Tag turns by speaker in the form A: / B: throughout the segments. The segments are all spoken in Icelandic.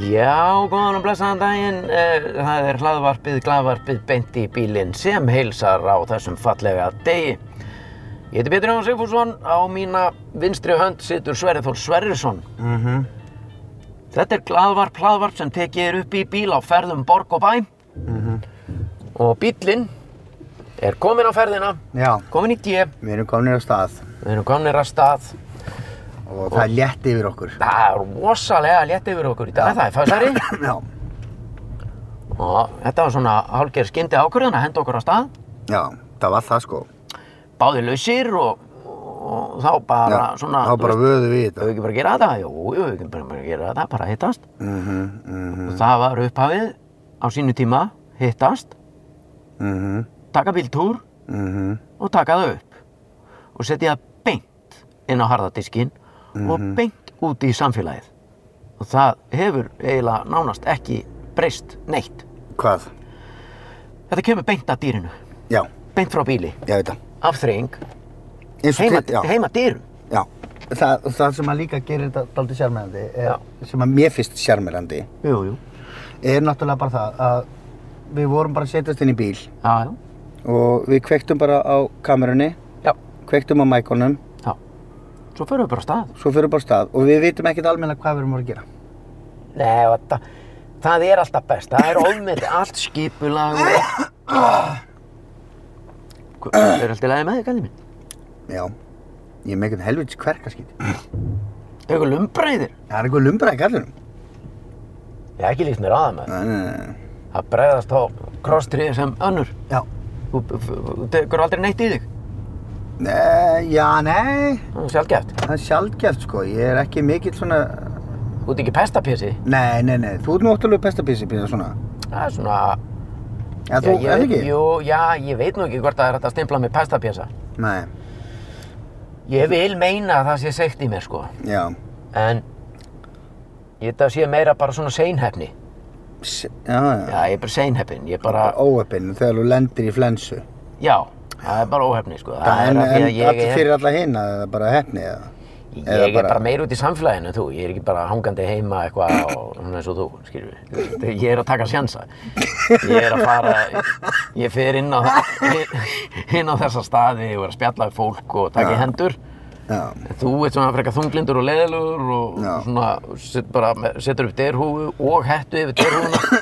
A: Já, góðan og blessaðan daginn. Eh, Það er hlaðvarpið, glaðvarpið, beint í bílinn sem heilsar á þessum fallega degi. Ég heiti Pétur Jón Sigfússon, á mína vinstri hönd situr Sverri Þór Sverrisson.
B: Mhm,
A: Þetta er glaðvarp, hlaðvarp sem tekið er upp í bíl á ferðum borg og bæ. Mhm. Og bílinn er kominn á ferðina,
B: já,
A: kominn í G,
B: við erum komin á stað
A: við erum komnir að stað.
B: og það er létt yfir okkur.
A: Það er rosalega létt yfir okkur í dag, það er fæsari.
B: Já,
A: Og þetta var svona hálfgerð skyndi ákvörðun að henda okkur á stað.
B: já, það var það sko.
A: báði lausir og, og þá bara
B: Já,
A: svona
B: þá bara
A: þú veist,
B: vöðu við
A: Ef við
B: þetta.
A: ekki bara að gera þetta? Jú, jú, við ekki bara að gera þetta, bara hittast.
B: Mhm, mhm,
A: Og það var upphafið á sínu tíma, hittast,
B: mhm,
A: taka bíltúr
B: mhm,
A: og taka það upp. Og setja það beint inn á harðadiskinn
B: Mhm.
A: og beint út í samfélagið. Og það hefur eiginlega nánast ekki breyst neitt.
B: hvað?
A: Þetta kemur beint að dýrinu,
B: Já,
A: beint frá bíli,
B: ég veit það.
A: af þreying,
B: Eins og
A: heima,
B: til- já,
A: heima dýrum.
B: já. Það, það sem að líka gerir þetta daldið sjarmerandi, er,
A: Já.
B: sem að mér finnst sjarmerandi,
A: Jú, jú.
B: er náttúrulega bara það að við vorum bara að setjast inn í bíl
A: Já, já.
B: og við kveiktum bara á kamerunni,
A: Já,
B: kveiktum á mækonum,
A: já. Svo förum við bara af stað.
B: svo fyrir bara af stað og við vitum ekkert almennilega hvað við erum að gera.
A: Nei, og þetta, það er alltaf best. Það er ofmyndi, allt skipulag og... Hva- Er alltaf lægið með þig, kallið minn?
B: Já, ég er með einhvern helvits kverkaskýti.
A: Eitthvað lumbræðir?
B: Það er eitthvað lumbraði kallunum.
A: Ég hef ekki líst mér á það, maður.
B: Nei, nei, nei, nei.
A: Það bregðast á krosstrið sem önnur.
B: Já.
A: Þú þú- þú tekur aldrei neitt í þig.
B: Nei, já, nei.
A: Það er sjálfgeft.
B: Það er sjálfgeft sko. Ég er ekki mikill svona...
A: Þú ert ekki pestapjösi.
B: Nei, nei, nei. Þú ert nú óttalega pestapísi písa svona.
A: Það er svona...
B: Eða þú,
A: ég,
B: er það
A: veit-
B: ekki?
A: Jú, já, ég veit nú ekki hvort það er hægt að stimpla mig pestapjösa.
B: Nei,
A: Ég vil meina að það sé seikt í mér, sko.
B: já.
A: En... Ég þetta sé meira bara svona seinhefni.
B: S já, já.
A: Já, ég er bara seinhefin. Ég er bara...
B: Óöpinn þegar þú lendir í flensu.
A: Já, það er bara óhefni sko.
B: Það
A: er
B: en,
A: af því
B: en
A: að ég
B: all,
A: er,
B: fyrir alla hinn að það er bara hefni eða.
A: ég
B: eða
A: er bara,
B: bara-
A: meir út í samfélaginu en þú. Ég er ekki bara hangandi heima eitthvað og svona eins og þú, skilur við. Ég er að taka sjansa. Ég er að fara, ég fer inn á, inn á þessa staði og er að spjalla við fólk og taka í hendur.
B: Já,
A: Þú ert svona frekar þunglindur og leðilegur og
B: Já.
A: svona set bara, setur upp derhúfu og hettu yfir derhúfuna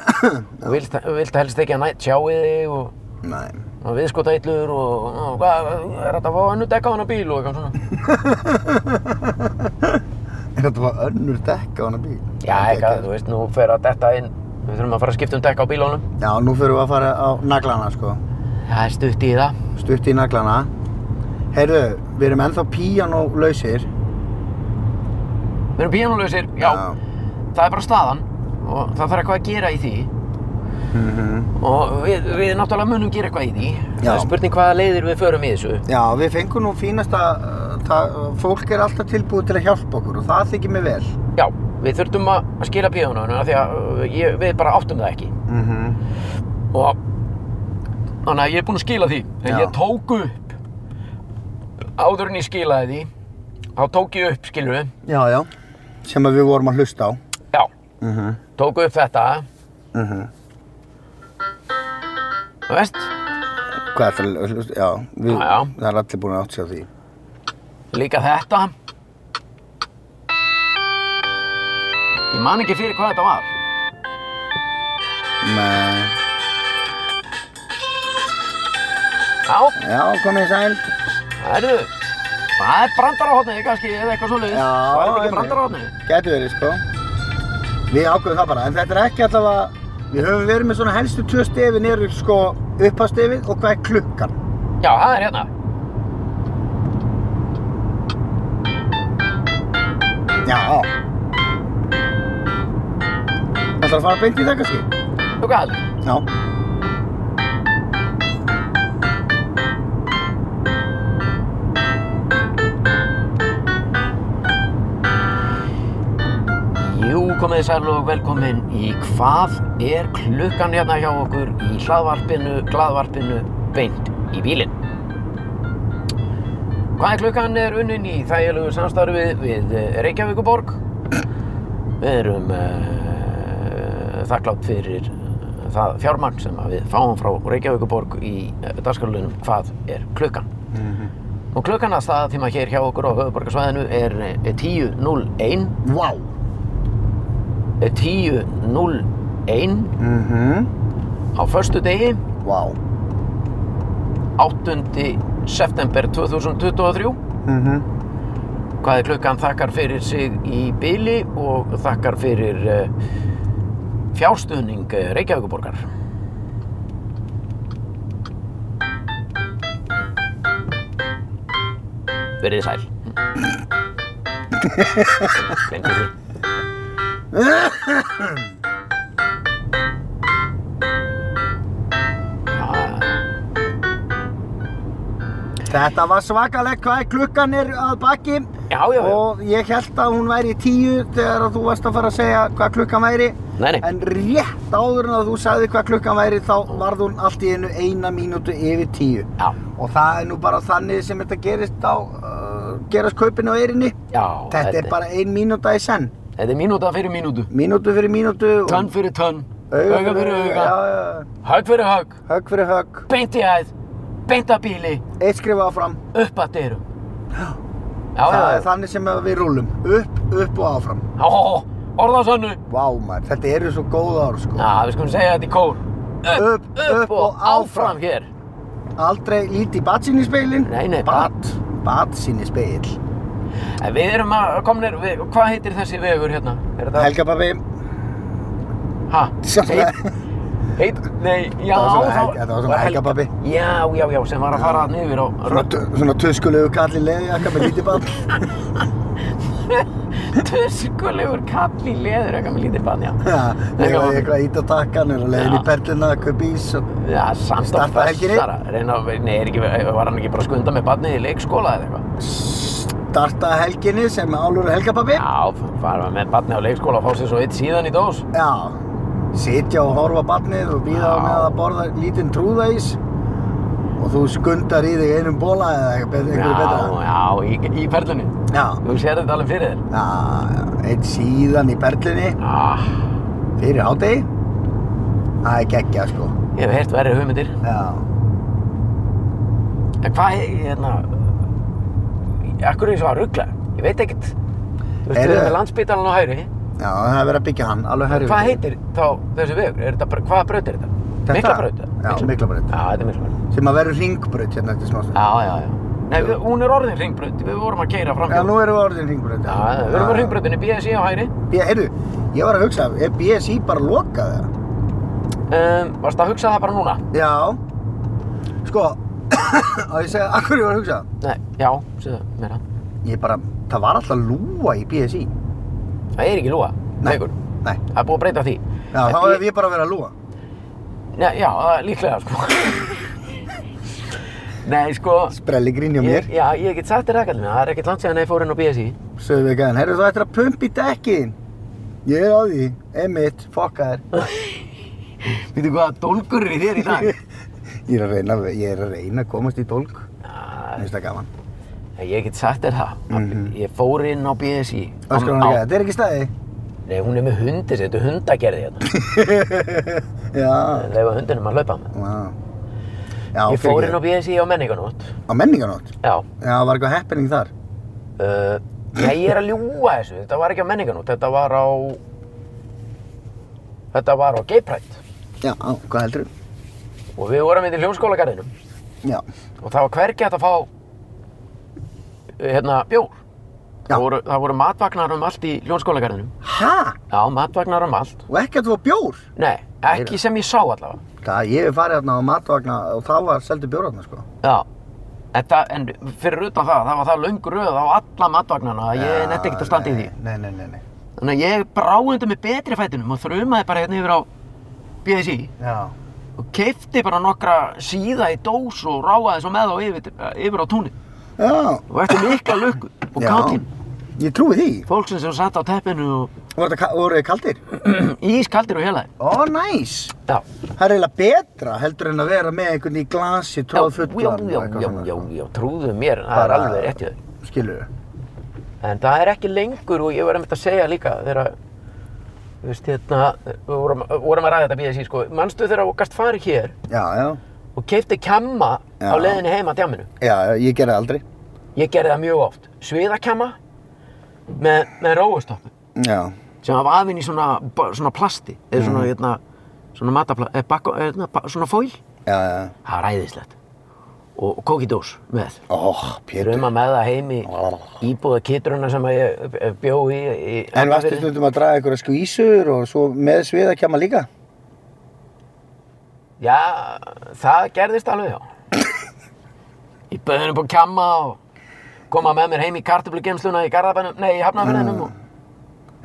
A: og vilt, vilt helst ekki að nætt sjáið þig og
B: nei.
A: og viðskotætlur og, og hvað, er þetta að fá önnu dekka á hana bíl og eitthvað svona.
B: Þetta var önnur dekk á hana bíl.
A: Já, eitthvað, þú veist, nú fer að detta inn, við þurfum að fara að skipta um dekka á bílónum.
B: Já, nú fyrir við að fara á naglana sko.
A: Það er stutt í það.
B: stutt í naglana heyrðu, við erum ennþá píanólausir
A: Við erum píanolausir, já, það er bara staðan og það þarf eitthvað að gera í því
B: Mhm.
A: og við, við náttúrulega munum gera eitthvað í því.
B: Já.
A: Það er spurning hvaða leiðir við förum í þessu.
B: já, við fengum nú fínasta uh, það, fólk er alltaf tilbúið til að hjálpa okkur og það þykir mér vel
A: Já, við þurftum að að skila píanónu af því að uh, ég, við bara áttum það ekki
B: mm -hmm.
A: og þannig að ég er búinn að skila því en
B: Já.
A: ég tók upp áður en ég skilaði því þá tók ég upp skilur við
B: já, já, sem að við vorum að hlusta á
A: já,
B: mm -hmm.
A: tók upp þetta þú veist
B: hvað er það að hlusta, já, við,
A: Já, já.
B: það er allir búin að átt sér því
A: líka þetta ég man ekki fyrir hvað þetta var
B: Nei.
A: já,
B: já, komið sæl
A: herðu það er brandarahotnið kannski eða eitthvað svoleiðis
B: Já,
A: það er
B: einmitt.
A: ekki brandarahotnið
B: gæti verið sko við ákveðum það bara, en þetta er ekki allavega við höfum verið með svona helstu tvö stefi niður sko upphastefið og hvað er klukkan
A: já, það er hérna
B: Já Það þarf að fara beint í það kannski
A: þú hvað heldur
B: Já.
A: Jú, komið þið sæl og velkomin í hvað er klukkan hérna hjá okkur í hlaðvarpinu, hlaðvarpinu, beint í bílinn. Hvað er klukkan er unnin í þægilegu samstarfi við eh, Reykjavíkuborg. Við erum uh, þakklátt fyrir eh, það fjármagn sem að við fáum frá Reykjavíkuborg í uh, dagskarlunum hvað er klukkan.
B: Mhm.
A: Og klukkan að staða tíma hér hjá okkur á höfuborgarsvæðinu er eh, 10.01
B: Vá.
A: 10.01
B: Mhm.
A: á förstu degi,
B: Vá.
A: 8. september 2023.
B: Mhm.
A: Hvað er klukkan þakkar fyrir sig í byli og þakkar fyrir uh, fjárstuðning eh, Reykjavíkuborgar. Verið sæl. Glemdi því. Já,
B: Þetta var svakaleg hvað er klukkan er að baki
A: já, já. já.
B: og ég held að hún væri tíu þegar að þú varst að fara að segja hvað klukkan væri
A: Nei, nei.
B: en rétt áður en að þú sagði hvað klukkan væri þá varð hún allt í einu eina mínútu yfir tíu
A: Já,
B: og það er nú bara þannig sem þetta gerist á uh, gerast kaupinu á erinni
A: já.
B: þetta er bara ein mínúta í senn
A: Þetta er mínúta fyrir mínútu.
B: mínútu fyrir mínútu og-
A: Tönn fyrir tönn. Auga fyrir auga.
B: já, já, já.
A: Högg fyrir högg,
B: högg fyrir högg,
A: beint í hæð, beint að bíli,
B: eitt skrifa áfram
A: upp að dyrum. Já, já,
B: það
A: já.
B: er þannig sem að við rúlum upp, upp og áfram
A: Ó, orða á sönnu.
B: Vá maður, þetta eru svo góð ár sko.
A: Já, við skulum segja þetta í kór.
B: Upp, upp og áfram.
A: hér.
B: Aldrei líti í batsinni speilin.
A: Nei, nei,
B: Bat, batsinni speil.
A: En við erum að komnir, við, hvað heitir þessi vegur hérna? Er þetta?
B: Helga pabbi.
A: Ha?
B: Sem-
A: Heit, heit, nei, já.
B: var svona
A: þá-
B: Helga- þetta var svona Helga pabbi.
A: Já, já, já, sem var að fara hann yfir á
B: Svona, tu- svona tuskulegu kalli leði, akka með lítið ball.
A: Tuskulegur kall í leður, eitthvað með lítið bann, já.
B: Já,
A: Helga
B: Legaði
A: pabbi.
B: eitthvað ít á takkan, er að leiðin
A: Já.
B: í perluna, kaup ís og...
A: Já, samt og
B: Starta helginni?
A: festara. Reyna, að- nei, er ekki, var hann ekki bara að skunda með barnið í leikskóla eða eitthvað?
B: Starta helginni sem álur Helga pabbi.
A: Já, fara með barnið á leikskóla og fá sér svo eitt síðan í dós.
B: Já. Sitja og horfa á barnið og býða á
A: Já.
B: með að borða lítinn trúðaís. Og þú skundar í þig einum bóla eða eitthvað bet-
A: Já,
B: einhverju betra.
A: já, í, í perlunni.
B: Já.
A: Þú sér þetta alveg fyrir þér.
B: Já, eitt síðan í berlinni
A: Ah,
B: fyrir hádegi. Það er geggja, sko.
A: ég hef heyrt verri hugmyndir.
B: Já.
A: En hvað, he- hérna, akkur er ég svo að ruggla? Ég veit ekkert. Þú veist, við
B: Heyrðu.
A: erum með landsbítalan á hægri.
B: Já, það er verið að byggja hann, alveg herri.
A: Hvað heitir þá þessi vegur? Er þetta, bara- hvaða braut er þetta?
B: Þetta?
A: Miklabraut? eða?
B: Já, Miklabraut.
A: Já, þetta er miklabraut.
B: Sem að verður ringbraut hérna eftir smá stund.
A: Já, já, já. Nei, við, hún er orðin ringbraut, við vorum að keira fram
B: Já, nú erum við orðin ringbraut.
A: Já, við vorum á ringbrautinni, BSI á hægri.
B: Ég, heyrðu, ég var að hugsa, er BSI bara lokað það?
A: Um, varst að hugsa það bara núna?
B: Já. Sko, að ég segja, akkur ég var að hugsa það?
A: Nei, já, segðu mér það.
B: Ég bara, það var alltaf lúa í BSI.
A: Það er ekki lúa,
B: Nei.
A: vegur.
B: Nei.
A: Það er búið að breyta því.
B: Já, þá hef ég bara verið að lúa.
A: Nei, já, það er líklega, sko. Nei, sko...
B: Sprelli grín hjá mér.
A: Ég, já, ég get sagt þér það, kallinn minn. Það er ekkert langt síðan að ég fór inn á BSI.
B: Sögðu við gæðan, herru þú ættir að pumpa í dekkiðin Ég er á því, emitt, fokkaður
A: Veitu hvað, dólgur er í þér í dag?
B: Ég er að reyna, ég er að reyna að komast í dólg Mér finnst það gaman
A: ég get sagt þér það.
B: Mhm.
A: Ég fór inn á BSI.
B: Öskar hún
A: Á-
B: ekki að þetta er ekki staði
A: Nei, hún er með hundi, sér, þetta er hundagerði hérna.
B: Já,
A: Leifa hundinum að hlaupa.
B: já Já,
A: ég fór inn á BSI á menninganót.
B: á menninganótt
A: Já.
B: Já, var eitthvað happening þar
A: Uh, nei, ég er að ljúa þessu. Þetta var ekki á menninganót. Þetta var á... Þetta var á Gay Pride.
B: Já, á, hvað heldur
A: Og við vorum hérna í hljómskólagarðinum.
B: Já,
A: Og það var hvergi hægt að fá... uh, Hérna, bjór.
B: Já.
A: Það voru, það voru matvagnar um allt í hljómskólagarðinum.
B: ha,
A: Já, matvagnar um allt.
B: og ekki að þú var bjór
A: Nei, ekki sem ég sá allavega.
B: Það, ég hef farið hérna á matvagna og þá var seldu bjór hérna sko
A: Já. Þetta, en fyrir utan það, það var það löng röð á alla matvagnana að ég er netta ekkert að standa í því.
B: Nei, nei, nei, nei
A: Þannig að ég brá undir með betri fætinum og þrumaði bara hérna yfir á BSI
B: Já.
A: og keipti bara nokkra síða í dós og ráaði svo með þá yfir, yfir á túnni
B: Já.
A: og eftir mikla lukku og
B: Já.
A: kátín
B: Ég trúi því.
A: fólksinn sem satt á teppinu og
B: Voru þetta ka- voru þið kaldir?
A: ískaldir og hélagi
B: Ó, næs.
A: já,
B: Það er eiginlega betra heldur en að vera með einhvern í glasi
A: já,
B: tróð
A: já,
B: fullan
A: já, já, já, já, trúðu mér það er
B: Bara-
A: alveg rétt í þau
B: Skilur
A: En það er ekki lengur og ég var einmitt að segja líka þegar að, þú veist, hérna, við vorum, vorum að ræða þetta BSI, sko, manstu þegar að gast farið hér
B: Já, já,
A: og keipti kemma á
B: Já.
A: leiðinni heima að djáminu.
B: já, já, ég gerði það aldrei
A: Ég gerði það mjög oft. Sviðakemma með, með róustoppu
B: Já,
A: sem var vafinn í svona, ba- svona plasti, eða svona, hérna, svona matapla, eða bakko, eða ba- svona fóil.
B: já, já
A: Það var æðislegt. Og, og kókidós með.
B: Ó, Pétur
A: Dröma með það heimi íbúða kittruna sem að ég eh, bjó í. í
B: En varstu
A: Hafnarfirði.
B: stundum að draga einhverja skvísur og svo með sviða kjama líka?
A: Já, það gerðist alveg, já. Ég bauði henni upp á kamma og koma með mér heim í kartöflugemsluna í Garðabænum, nei, í Hafnafjörðinum og...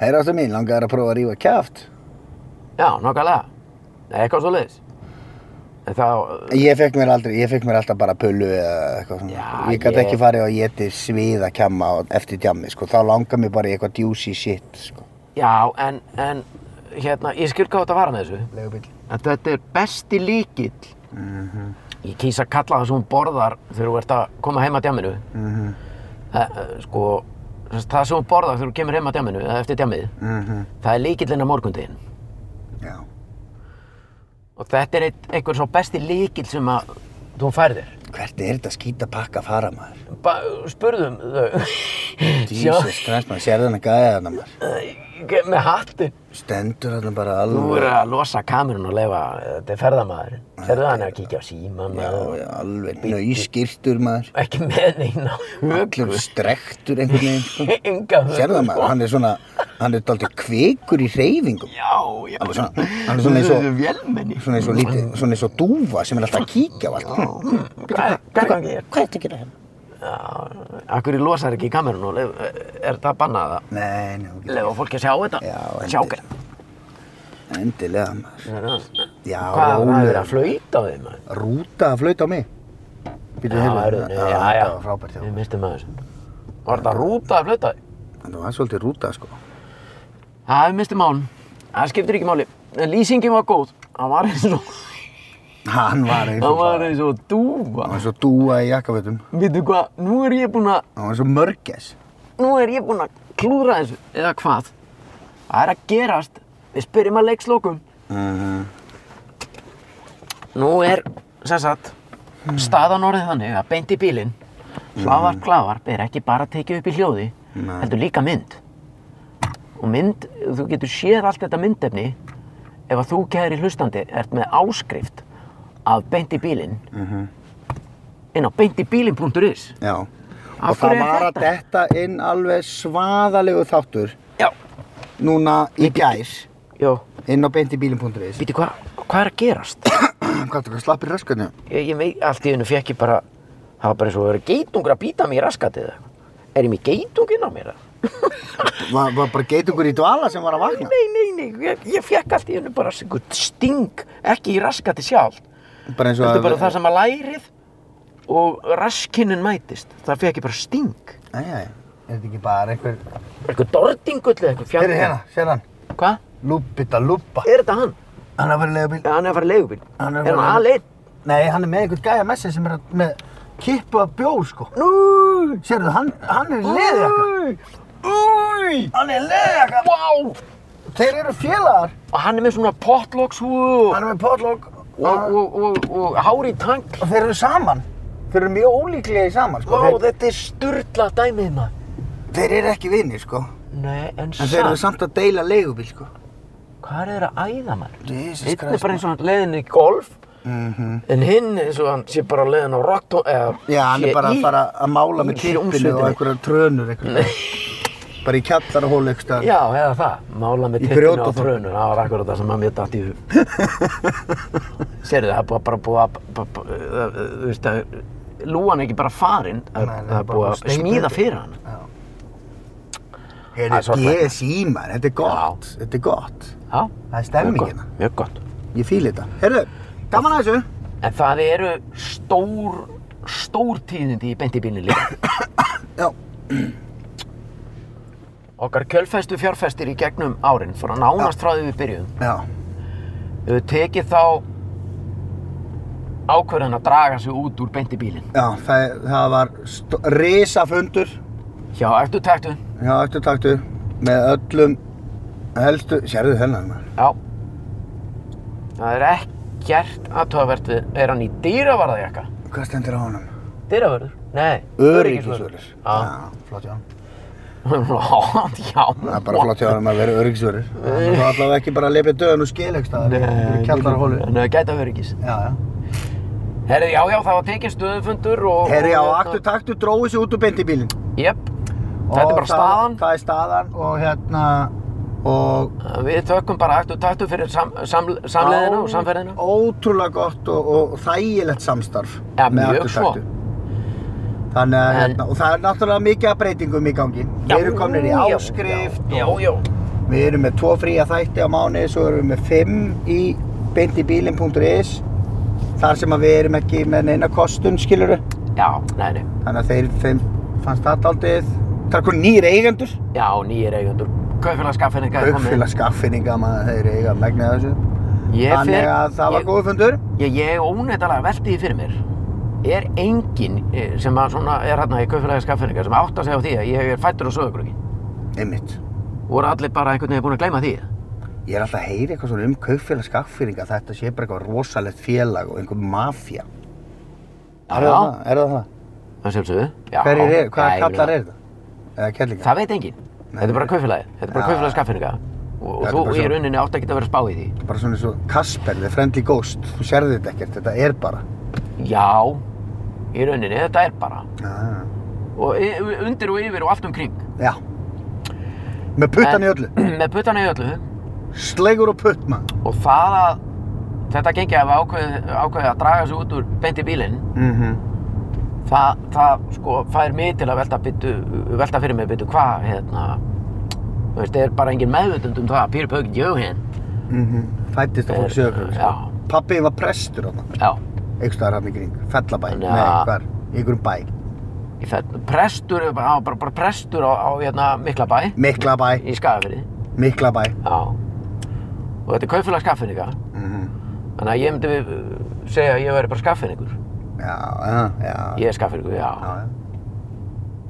B: Heyra ástu mín, langaði að prófa að rífa kjaft
A: Já, nokkalega. Eitthvað svo leiðis. En þá,
B: Ég fekk mér aldrei, ég fekk mér alltaf bara pullu eða eitthvað svona
A: Já,
B: Ég gæti
A: ég-
B: ekki farið að geti sviða kjama eftir djammi, sko Þá langar mér bara í eitthvað juicy shit, sko
A: já, en, en, hérna, ég skil hvað þetta var með þessu.
B: Legubill
A: En þetta er besti líkill.
B: Mhm,
A: Ég kýs að kalla það sem hún borðar þegar þú ert að koma heim að djamminu.
B: mhm,
A: Það, eh, sko, sem sagt, það sem hún borðar þegar þú kemur heim að djamminu, eða eftir djammið, það er líkillinn á morgundeginn.
B: mhm. Já
A: Og þetta er eitt, einhver svo besti líkil sem að þú færðir.
B: Hvert er þetta skýta pakka að fara, maður?
A: Ba spurðum þau.
B: Jesus Christ, maður sér þannig gæði þarna maður.
A: Sjá, með hattin.
B: Stendur þarna bara
A: Þú
B: alveg,
A: er að losa kamerun og leifa, þetta er ferðamaðurinn. Serðu hann að kíkja á síman
B: já,
A: og
B: já, alveg nöyskirtur maður.
A: ekki með neina
B: Öllur
A: höglu.
B: strektur einhvern veginn, sko.
A: Enga höglu.
B: Sér það maður, hann er svona, hann er daldið kvikur í reyfingum.
A: Já, já.
B: Hann er svona, hann er svona eins og,
A: Vélmenni.
B: svona eins og lítið, svona eins og dúfa sem er alltaf að kíkja á allt.
A: Hvað hvað gangi ég?
B: Hvað er þetta að gera hérna?
A: Akkur ég losar ekki kamerun og leif, er það bannað að
B: Nei, nei, ok.
A: leifa fólki að sjá þetta?
B: Já,
A: Sjá
B: endilega. endilega maður.
A: ekki.
B: Já,
A: Hvað, það er
B: rólegur.
A: verið að flauta á þeim? maður?
B: Rúta að flauta á mig. Býtu,
A: Já,
B: heyrðu,
A: heyrðu, nei, já, já,
B: þetta var frábært hjá.
A: Við mistum aðeins. Var þetta rúta að flauta?
B: Þetta var svolítið rúta, sko.
A: Já, við mistum án. Það skiptir ekki máli. En lýsingin var góð. Hann var eins og,
B: Hann var eins
A: hann
B: og
A: var eins og dúfa.
B: Hann var eins og dúa í jakkafötum.
A: Vittu hvað, nú er ég búinn að,
B: Hann var eins og mörgæs.
A: nú er ég búinn að klúðra þessu. Eða hvað? Það er að gerast. Við spyrjum að leikslokum. Mhm. Nú er, sem sagt, Hmm. staðan orðið þannig að beint í bílinn. Svavar Glavar er ekki bara að tekið upp í hljóði,
B: Nei.
A: heldur líka mynd. Og mynd, þú getur séð allt þetta myndefni ef að þú kæri hlustandi ert með áskrift af beint í bílinn inn á beintibílinn.is
B: Já.
A: Af
B: og það
A: hverju er
B: var að detta inn alveg svaðalegu þáttur
A: Já,
B: núna í gær
A: já,
B: inn á beintibílin.is
A: býtu hvað, hvað er að gerast?
B: Hvað er það slappir raskanu?
A: Ég, ég veit, allt í hennu fekk ég bara, það var bara eins og að vera geitungur að býta mig í raskatið eða eitthvað. Er ég með geitunginn á mér það?
B: Var, var bara geitungur í dvala sem var að vakna?
A: Nei, nei, nei, ég, ég fekk allt í hennu bara einhvern sting, ekki í raskatið sjálf.
B: Bara eins og
A: Þetta er bara það sem að lærið og raskinninn mætist. Það fekk ég bara sting.
B: Æ, æ, er þetta ekki bara einhver...
A: Eitthvað dordingull eða eitthvað
B: Heyrðu hérna, sér hann.
A: Hvað?
B: Lúbita, lúbba.
A: Er þetta hann?
B: Hann er að fara í legubíl.
A: Eða Hann er að fara í leigubíl.
B: Hann er að
A: er hann
B: fara í
A: aðleitt?
B: Nei, hann er með einhvern gæja með sér sem er að- með kippu af bjór, sko.
A: Nú!
B: Sérðu, hann, hann er í leðjaka.
A: Új!
B: Hann er í leðjaka.
A: Vá!
B: Þeir eru félagar.
A: Og hann er með svona potlokkshúðu
B: Hann er með potlokk.
A: og, og, og, og hár í tank.
B: Og þeir eru saman. Þeir eru mjög ólíklega í saman, sko.
A: Vá,
B: þeir,
A: þetta er sturla dæmið maður.
B: þeir eru ekki vinni, sko.
A: Nei, en,
B: En þeir eru
A: samt,
B: samt að deila leigubíl, sko.
A: hvað er þeir að æða maður?
B: Jesus
A: Einn er
B: Christ,
A: bara eins og hann leiðin í golf,
B: Mhm.
A: en hinn eins og hann sé bara leiðin á rockton, eða
B: Já, hann
A: sé
B: er bara
A: í-
B: að fara að mála með
A: í
B: klippinu
A: hljómsveitinni.
B: og einhverja trönur, einhverja. bara í kjallarhól, einhverja.
A: Já, eða það, mála með
B: Í
A: tippinu á
B: grjótaþorpi.
A: þrönu, það var akkurat það sem að mér datt í hug. Sérðu, það er búið að bara búið að, b- b- það- þú veist að, lúan er ekki bara farin, það
B: Nei,
A: er-
B: nei,
A: það er
B: bara
A: búið
B: búið að
A: að
B: steypa
A: smíða
B: undir.
A: fyrir hann. Það er
B: Heyrðu,
A: sorglegt.
B: GSI, mann, þetta er gott. Þetta er gott.
A: Já,
B: Það er
A: mjög
B: stemming
A: gott,
B: hérna.
A: mjög gott.
B: Ég fíl þetta. Herðu, gaman að þessu.
A: En það eru stór, stór tíðindi í beint í bílni líka.
B: Já.
A: Okkar kjölfestu fjárfestir í gegnum árin, svona nánast frá því við byrjuðum,
B: Já.
A: hefur tekið þá ákvörðan að draga sig út úr beint í bílinn.
B: Já, það, það var risafundur
A: Hjá eftir taktu,
B: hjá eftirtaktur með öllum helstu, sérðu þennan maður.
A: já. Það er ekkert aðtöðavert við, er hann í dýravarðajakka?
B: Hvað stendur á honum?
A: Dýravörður? Nei,
B: Öryggisvörður.
A: Já,
B: flott hjá hann.
A: já.
B: Það er bara flott hjá hann að vera öryggisvörður. Það er allavega ekki bara að leipið döðan og skil ekki staðar.
A: Nei,
B: Kjallar hólu.
A: Nei, gæta öryggis.
B: Já, já.
A: Herri, já, já, það var tekið stöðufundur og...
B: Herri á
A: og-
B: eftirtaktur dróði sig út úr beint í bílinn.
A: Jep, þetta er
B: Og
A: bara
B: það-
A: staðan.
B: Það er staðan og hérna og
A: Við tökum bara akt og taktu fyrir sam, sam, samleðina og samferðina.
B: Ótrúlega gott og, og þægilegt samstarf
A: Ja,
B: með
A: mjög
B: Aftur
A: svo.
B: taktu. Þannig að
A: En-
B: hérna, og það er náttúrulega mikið af breytingum í gangi.
A: Já,
B: við erum komin í
A: já,
B: áskrift,
A: Já, já,
B: við erum með tvo fría þætti á mánuði, svo erum við með fimm í beintibílin.is þar sem að við erum ekki með neina kostun, skiluru.
A: já, nei, nei.
B: Þannig að þeir, þeim fannst það aldrei, það er hvernig nýr eigendur.
A: Já, nýjir eigendur. Kaufélagskaffinu gæði
B: Kaupfélag skaffinninga maður, þeir eiga megna þessu.
A: Ég
B: Þannig
A: fer-
B: að það var
A: ég-
B: góð fundur.
A: Ég, ég óneittalega velti því fyrir mér. Er enginn eh, sem að svona er hérna í kaufélagskaffinu sem átt að segja á því að ég er fættur á sögurgröki?
B: Einmitt.
A: Voru allir bara einhvern veginn búin að gleyma því?
B: Ég er alltaf að heyra eitthvað svona um kaupfélag skakfýringa, þetta sé bara eitthvað rosalegt félag og einhver mafja. Er það það? Er það það?
A: Það sjálfsögðu. Já.
B: Hverjir er,
A: Já,
B: hvaða
A: ég
B: kallar
A: meina-
B: er það? Eða kellingar?
A: Það veit enginn. Þetta er bara kaufélagið. Þetta er bara
B: Já.
A: kaufélagskaffinu Og, og
B: Þetta er
A: þú
B: bara
A: í
B: svo-
A: rauninni átt ekki að vera að spá í því.
B: Bara svona eins og Kasper, The Friendly Ghost, þú sérði þetta ekkert, þetta er bara.
A: Já, í rauninni, þetta er bara.
B: Ah.
A: Og y- undir og yfir og allt um kring.
B: Já. Með puttan í öllu.
A: Með puttana í öllu.
B: Sleigur og putt, mann.
A: Og það að þetta gengi að ákveðið ákveði að draga sig út úr beint í bílinn,
B: Mm -hmm.
A: Mhm. það, það sko fær mig til að velta, byttu, velta fyrir mig byttu hvað, hérna. Þú veist, er bara engin meðvutund um það að Píri Pögn Jóhinn.
B: Mm -hmm. Fættist að
A: Er-
B: fólk sjöður.
A: Eh, já.
B: Pappi var prestur á það.
A: Já,
B: Einhvers staðar hann í kring. Fellabæ.
A: Já.
B: Nei, hvar? Í einhverjum bæ.
A: í þetta, prestur, hann var bara, bara prestur á, á hérna, Miklabæ,
B: Miklabæ.
A: í Skagafyrði.
B: Miklabæ.
A: Já. Og þetta er kaufélagskaffinninga.
B: Mm
A: Þannig að ég myndi við uh, segja að ég væri bara skaffinningur.
B: Já, já, já.
A: Ég er skaffinningur, já.
B: já, já.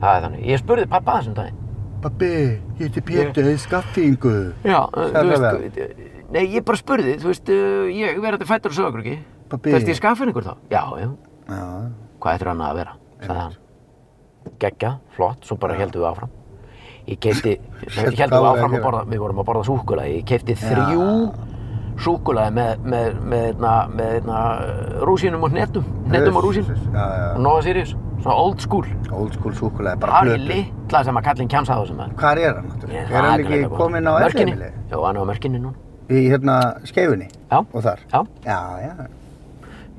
A: Það er þannig. Ég spurði pappa þessum daginn.
B: Pabbi, ég heiti Pétur, ég er skaffingu.
A: Já, þú
B: Sagði það
A: veist, uh, nei, ég bara spurði, þú veist, uh, ég verði fættur og sögur ekki.
B: Pabbi.
A: Þú veist, ég er skaffinningur þá. Já, já,
B: Já,
A: hvað ættir hann að vera, sagði hann. Geggja, flott, svo bara heldum við áfram. Ég keipti,
B: Hvað
A: heldum við
B: voru
A: áfram að
B: að gera?
A: borða, við vorum að borða súkulaði, ég keipti þrjú súkulaði með, með, með, með, með, með rúsinum og hnetum, hnetum og rúsin,
B: Já, já,
A: og Nova Sirius, svona old school.
B: old school súkulega, bara
A: Það er
B: blötu.
A: litla sem að kallinn kemst að þessum maður.
B: Hvar er hann náttúrulega?
A: Ég-
B: er
A: það
B: hann ekki
A: greinlega gott.
B: kominn á
A: Mörkinni?
B: elliðmili?
A: Jú, hann er á mörkinni núna.
B: Í hérna skeifunni
A: Já,
B: og þar?
A: já,
B: Já, já.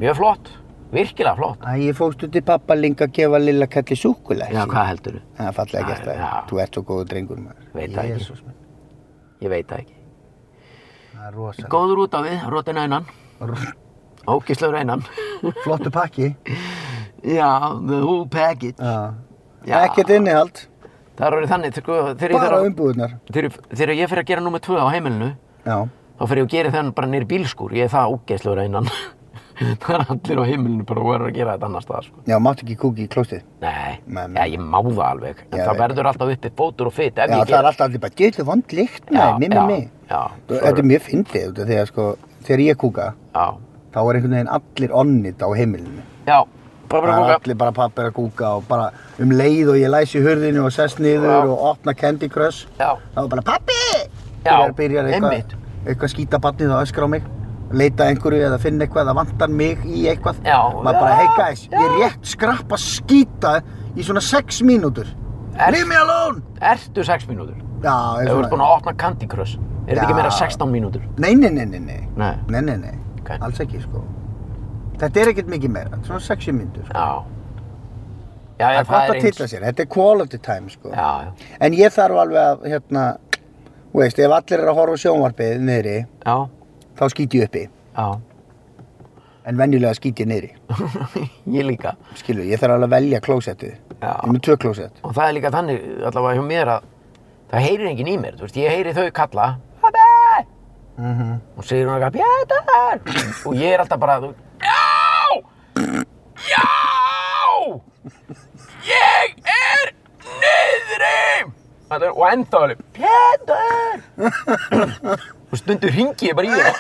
A: mjög flott. Virkilega flott.
B: Æ, ég fókstu til pappa Ling að gefa lilla kalli súkulega.
A: Já, hvað heldur þú?
B: Það er fallega gert
A: Já,
B: það.
A: já.
B: Þú ert svo góður drengur maður.
A: Veit það ekki.
B: Jesús minn.
A: Ég veit það ekki.
B: Það er rosalega.
A: Góður út á við, rótin einan. Ógislaur einan.
B: Flottu pakki.
A: Já, the whole package.
B: Já.
A: Já.
B: Ekkert innihald,
A: Það er orðið þannig, sko, þegar ég
B: bara um-
A: þarf að...
B: umbúðunar.
A: Þegar, þegar ég fyrir að gera nummer tvö á heimilinu,
B: Já.
A: þá fyrir ég að gera þennan bara nýr bílskúr. Ég er það ógislaur einan. það er allir á heimilinu bara og verður að gera þetta annars staðar, sko.
B: Já, mátt ekki kúki í klóstið.
A: Nei,
B: Nei,
A: Já,
B: nei.
A: ég má það alveg. En
B: Ég
A: það
B: veit
A: verður alltaf uppi fótur og fytt ef ég
B: Já, það er
A: gera.
B: alltaf allir bara, getur vond lykt, nei, mimi,
A: já,
B: mimi.
A: Já, svo
B: Þetta er mjög fyndið, út af því að sko, þegar ég kúka,
A: Já,
B: þá er einhvern veginn allir onnit á heimilinu.
A: já, bara bara
B: Það
A: kúka.
B: er allir bara pappir að kúka og bara um leið og ég læsi hurðinu og sess niður
A: Já.
B: og opna Candy Crush.
A: Já,
B: Þá er bara, pappi!
A: Já,
B: Byrjar- byrjar
A: einmitt.
B: eitthvað, eitthvað skýta barnið og öskra á mig. Leita að einhverju eða finna eitthvað eða vantar mig í eitthvað.
A: Já,
B: Maður bara,
A: já,
B: hey guys, ég er rétt skrappa skýta í svona 6 mínútur.
A: Er-
B: Leave me alone!
A: ertu 6 mínútur.
B: Já,
A: Ef
B: er
A: þú ert búin
B: svona,
A: að opna Candy Crush, er þetta ekki
B: Já.
A: meira 16 mínútur?
B: nei, nei, nei, nei, nei.
A: Nei.
B: Nei, nei, nei,
A: Ok.
B: alls ekki sko. Þetta er ekkert mikið meira, svona 60 myndur. Sko.
A: Já. Já,
B: Það
A: já,
B: er gott að tilla sér, þetta er quality time sko.
A: Já, já,
B: En ég þarf alveg að, hérna, þú veist, ef allir eru að horfa á sjónvarpið niðri,
A: já,
B: þá skýt ég uppi.
A: já,
B: En venjulega skýt ég niðri.
A: ég líka.
B: Skilur, ég þarf alveg að velja klósettið.
A: Já.
B: Ég er með tvö klósett.
A: Og það er líka þannig, allavega hjá mér að það heyrir enginn í mér, þú veist, ég heyri þau kalla Pabbi! Og segir hún eitthvað, Pétur! og ég er alltaf bara, þú Já! Já! Ég er niðri! Þetta er- Og ennþá alveg, Pétur! og stundu ringi ég bara í hana.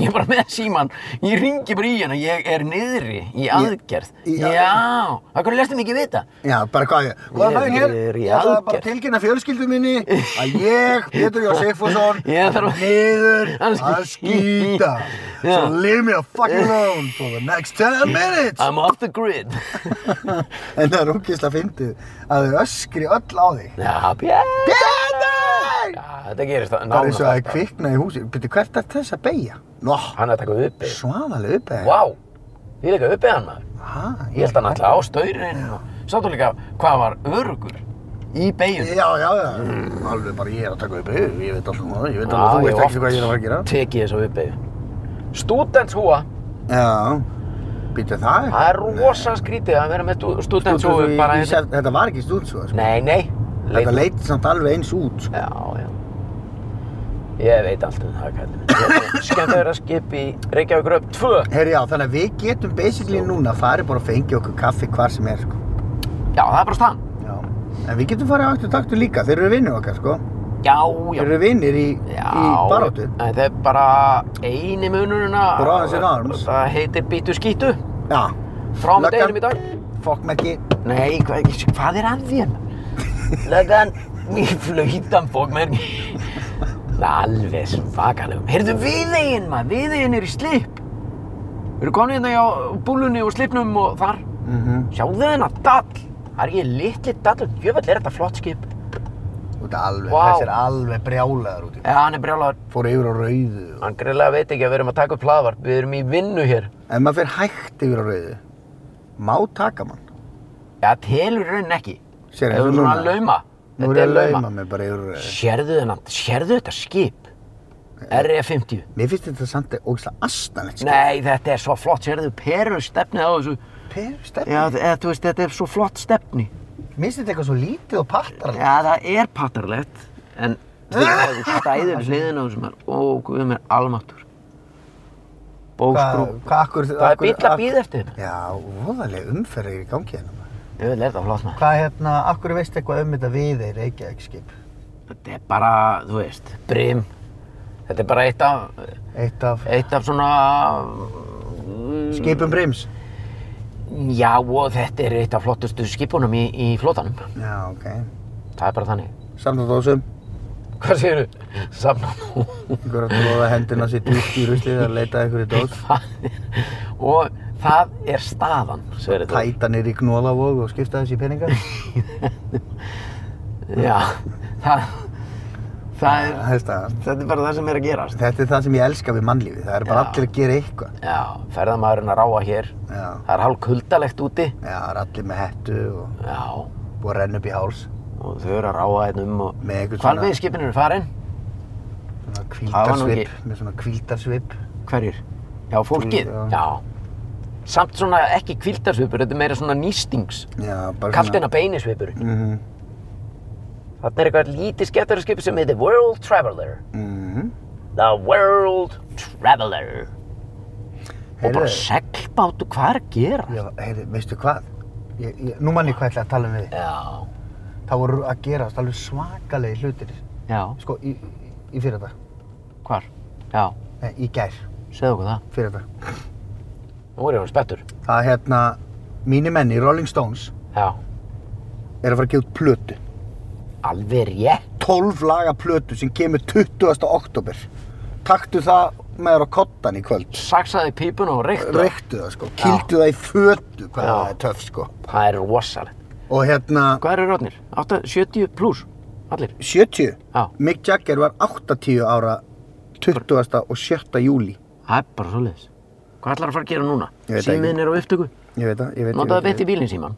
A: Ég er bara með síman, ég ringi bara í hana, ég er niðri í aðgerð.
B: í aðgerð.
A: Já, það hverju lestum ekki vita?
B: Já, bara hvað ég... Góðan
A: Ég
B: daginn hér.
A: er í
B: Ég ætlaði bara
A: aðgerð.
B: að tilkynna fjölskyldu minni að ég, Pétur Jó Sigfússon,
A: Ég þarf að-
B: niður
A: að
B: að skýta. So
A: Já.
B: leave me a fucking alone for the next 10 minutes.
A: I'm off the grid.
B: En það er ógeðslega fyndið að þau öskri öll á þig.
A: Já, Pétur!
B: Pétur!
A: Já, þetta gerist það.
B: Það er eins og að það kvikna í húsi. Býttu, hvert er þess að beigja? Nó,
A: Hann er að taka uppi.
B: svaðalega uppeigja.
A: Vá, ég leika uppið hann maður.
B: Ha,
A: Ég held hann alltaf á staurinn og sáttu líka hvað var örugur í beigum.
B: Já, já, já. Alveg bara ég er að taka upp auð, ég veit alltaf um það, ég veit
A: Já,
B: alveg að þú
A: ég
B: veist ekki
A: oft
B: hvað ég er að fara að gera.
A: Tekið þessu uppið. Stúdentshúa,
B: Já. Býttu það?
A: það er rosa skrítið að vera með stúdentshúa
B: Stúdentshúi
A: bara
B: í- í
A: hérna.
B: sef- Þetta var ekki stúdentshúi, sko.
A: Nei, nei.
B: Þetta leit samt alveg eins út, sko.
A: Já, já. Ég veit allt um það, kallinn. Skemmt að vera skip í Reykjavík Röp 2.
B: Herri, já, þannig að við getum basically núna farið bara að fengja okkur kaffi hvar sem er, sko.
A: Já, það er bara staðan.
B: Já. En við getum farið á eftir taktu líka, þeir eru vinnir okkar, sko.
A: Já, já.
B: Þeir eru vinnir í, í baróttu.
A: en það er bara eini munurinn að
B: Brothers in Arms.
A: Það heitir Bítu skítu
B: Já.
A: Frá með
B: Löggan.
A: deginum í dag
B: Fokk með ekki.
A: Nei, hvað, ekki- hvað er að þér? Löggan, mér flautan fók mér Alveg svakalegum Heyrðu, viðegin maður, viðegin er í slip Við erum komin hérna hjá búlunni og slipnum og þar
B: Mhm.
A: Sjáðu þennan dall Það er ég litli dall og jöfell er þetta flott skip
B: Þú ert alveg,
A: Vá.
B: þessi er alveg brjálaður úti.
A: Já, hann er brjálagur
B: Fór yfir á rauðu. og-
A: Hann greiðlega veit ekki að við erum að taka upp hlaðvarp Við erum í vinnu hér
B: Ef maður fer hægt yfir á rauðu, má taka mann.
A: Já, telur raunin ekki.
B: Sér
A: Þetta
B: eins
A: er
B: og
A: svona
B: núna.
A: lauma.
B: Nú er
A: Þetta
B: ég
A: er
B: að lauma
A: lauma.
B: mig bara yfir á rauðu.
A: Sérðu þennan, sérðu þetta skip? RE50.
B: Mér finnst þetta samt ógislega astanlegt, sko.
A: Nei, þetta er svo flott, sérðu peru stefnið á þessu.
B: Per, stefni.
A: Já, eða, þú veist, þetta er svo flott stefni.
B: Mér finnst þetta eitthvað svo lítið og pattarlega.
A: Já, það er pattarlegt, en þegar þú stæður við hliðina á þessu maður, ó, guð mér almáttur. Bóksbrú.
B: hvað akkur...
A: Það er bíll að býða eftir þetta.
B: Já, voðalega umferðir í gangi hérna. maður.
A: Ég vil þetta flott maður.
B: Hvað hérna, akkur veist eitthvað um þetta við þeir Reykjavík skip?
A: Þetta er bara, þú veist, brim. Þetta er bara eitt af,
B: Eitt af
A: eitt af svona
B: skipum Brims?
A: Já, og þetta er eitt af flottustu skipunum í, í flotanum.
B: Já, ok.
A: Það er bara þannig.
B: Samt á dósum,
A: Hvað séu? Safna nú.
B: einhver að tróða hendina sér djúpt í ruslið að leita að einhverju dós.
A: og það er staðan, Sverri Þór.
B: Tæta niður í gnólavóg og skipta þessi peningar.
A: Já, það, það er,
B: Þetta,
A: þetta er bara það sem er að gerast.
B: þetta er það sem ég elska við mannlífið. Það er bara
A: Já.
B: allir að gera eitthvað.
A: Já, ferðamaðurinn að ráa hér.
B: Já.
A: Það er hálf kuldalegt úti.
B: Já, það er allir með hettu og
A: Já,
B: búið að renna upp í háls.
A: og þau eru að ráa hérna um og...
B: Með einhvern
A: Hvar við skipinu eru farin?
B: Svona
A: Það var nú
B: kvítarsvip, með svona kvítarsvip.
A: Hverjir? Já, fólkið?
B: Þú, já.
A: Já. Samt svona ekki kvildarsvipur, þetta er meira svona nýstings.
B: Já, bara
A: Kalt en að beinisvipur.
B: Mhm,
A: Þarna er eitthvað lítið skemmtarskip sem heitir World Traveler.
B: mhm.
A: The World Traveler. Og bara
B: Heyrðu.
A: seglbátu, hvað er að gera?
B: Já, heyrðu, veistu hvað? Ég, ég, nú mann ég hvað ég ætla að tala um við. þig.
A: Já,
B: Það voru að gerast alveg svakalegi hlutir,
A: já,
B: sko, í, í, í fyrir dag.
A: hvar? Já,
B: Nei, í gær,
A: segðu okkur það.
B: fyrir dag.
A: Nú er ég að vera spettur.
B: Það er hérna, mínir menn í Rolling Stones
A: Já,
B: er að fara að gefa út plötu.
A: alveg rétt.
B: 12 laga plötu sem kemur 20. oktober. Taktu það með þér á kottan í kvöld.
A: Saksaði pípun og reyktu. það.
B: Reyktu það, sko. Kildu það í fötu, hvað
A: Já.
B: það er töff, sko.
A: Það er rosalegt.
B: Og hérna,
A: Hvað eru rótnir? 70 pluss, allir.
B: 70.
A: Já.
B: Mick Jagger var 80 ára 20. og 7. júli.
A: Það er bara svoleiðis. Hvað ætlar að fara að gera núna?
B: Ég veit það ekki.
A: Símiðin er á upptöku.
B: Ég veit það, ég veit ég
A: Notaðu
B: veit-
A: beitt í bílinn síman.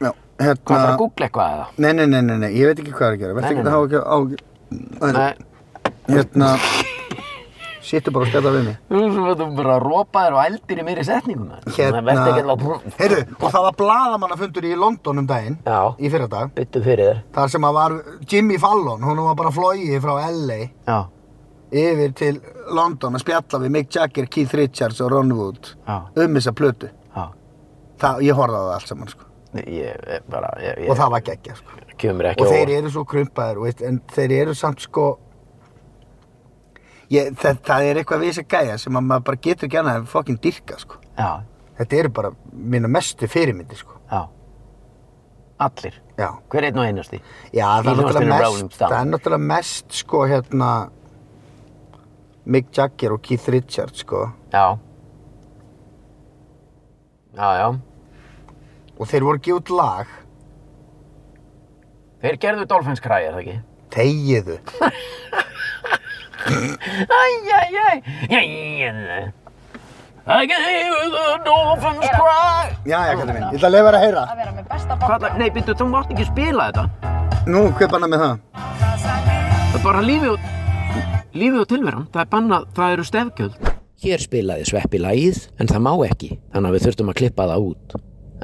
B: Já, hérna...
A: Hvað ætlar að googla eitthvað eða?
B: Nei, nei, nei, nei, nei, ég veit ekki hvað er að gera. Vertu
A: Nei,
B: ekki
A: nei,
B: að hafa ekki á...
A: Nei,
B: Hérna... Sittu bara og skjalla við mig.
A: Þú veist, þú verður bara að ropa þér og eldir í meiri setningum þar. Það verður ekki alveg...
B: Hérna- Heyrðu, og það var bladamannafundur í London um daginn,
A: Já,
B: í fyrradag,
A: byttu fyrir þér.
B: þar sem að var Jimmy Fallon, hún var bara flogið frá LA
A: Já,
B: yfir til London að spjalla við Mick Jagger, Keith Richards og Ron Wood
A: já,
B: um þessa plötu.
A: já.
B: Það, ég horfði á það allt saman, sko.
A: Ég ég bara, ég,
B: Og
A: ég
B: það var geggja, sko.
A: kemur ekki
B: Og
A: á
B: þeir
A: óvart.
B: eru svo krumpaðir, veist, en þeir eru samt, sko, ég, það, það er eitthvað við þessa gæja sem að maður bara getur ekki annað en fokkin dyrka, sko.
A: Já,
B: Þetta eru bara mínu mestu fyrirmyndi, sko.
A: já. Allir.
B: Já.
A: Hver einn og einasti.
B: Já, það er
A: Í hljómsveitinni
B: náttúrulega
A: Rolling
B: mest,
A: Stone.
B: það er náttúrulega mest, sko, hérna, Mick Jagger og Keith Richards, sko.
A: Já. Já, já.
B: Og þeir voru ekki út lag,
A: Þeir gerðu Dolphins Cry, er það ekki?
B: tegiðu.
A: Æjæjæj. Jæjæjæj. I can hear the Dolphins Cry.
B: Já, já, kallið minn, ég ætla að leifa þér að heyra.
C: að vera með besta
A: Hvað,
C: bókla
A: nei, byrju, þú mátt ekki spila þetta.
B: Nú, hvað banna með það?
A: Það er bara lífið og, lífið og tilveran, það er bannað, það eru stefgjöld. Hér spilaði sveppi lagið, en það má ekki, þannig að við þurftum að klippa það út.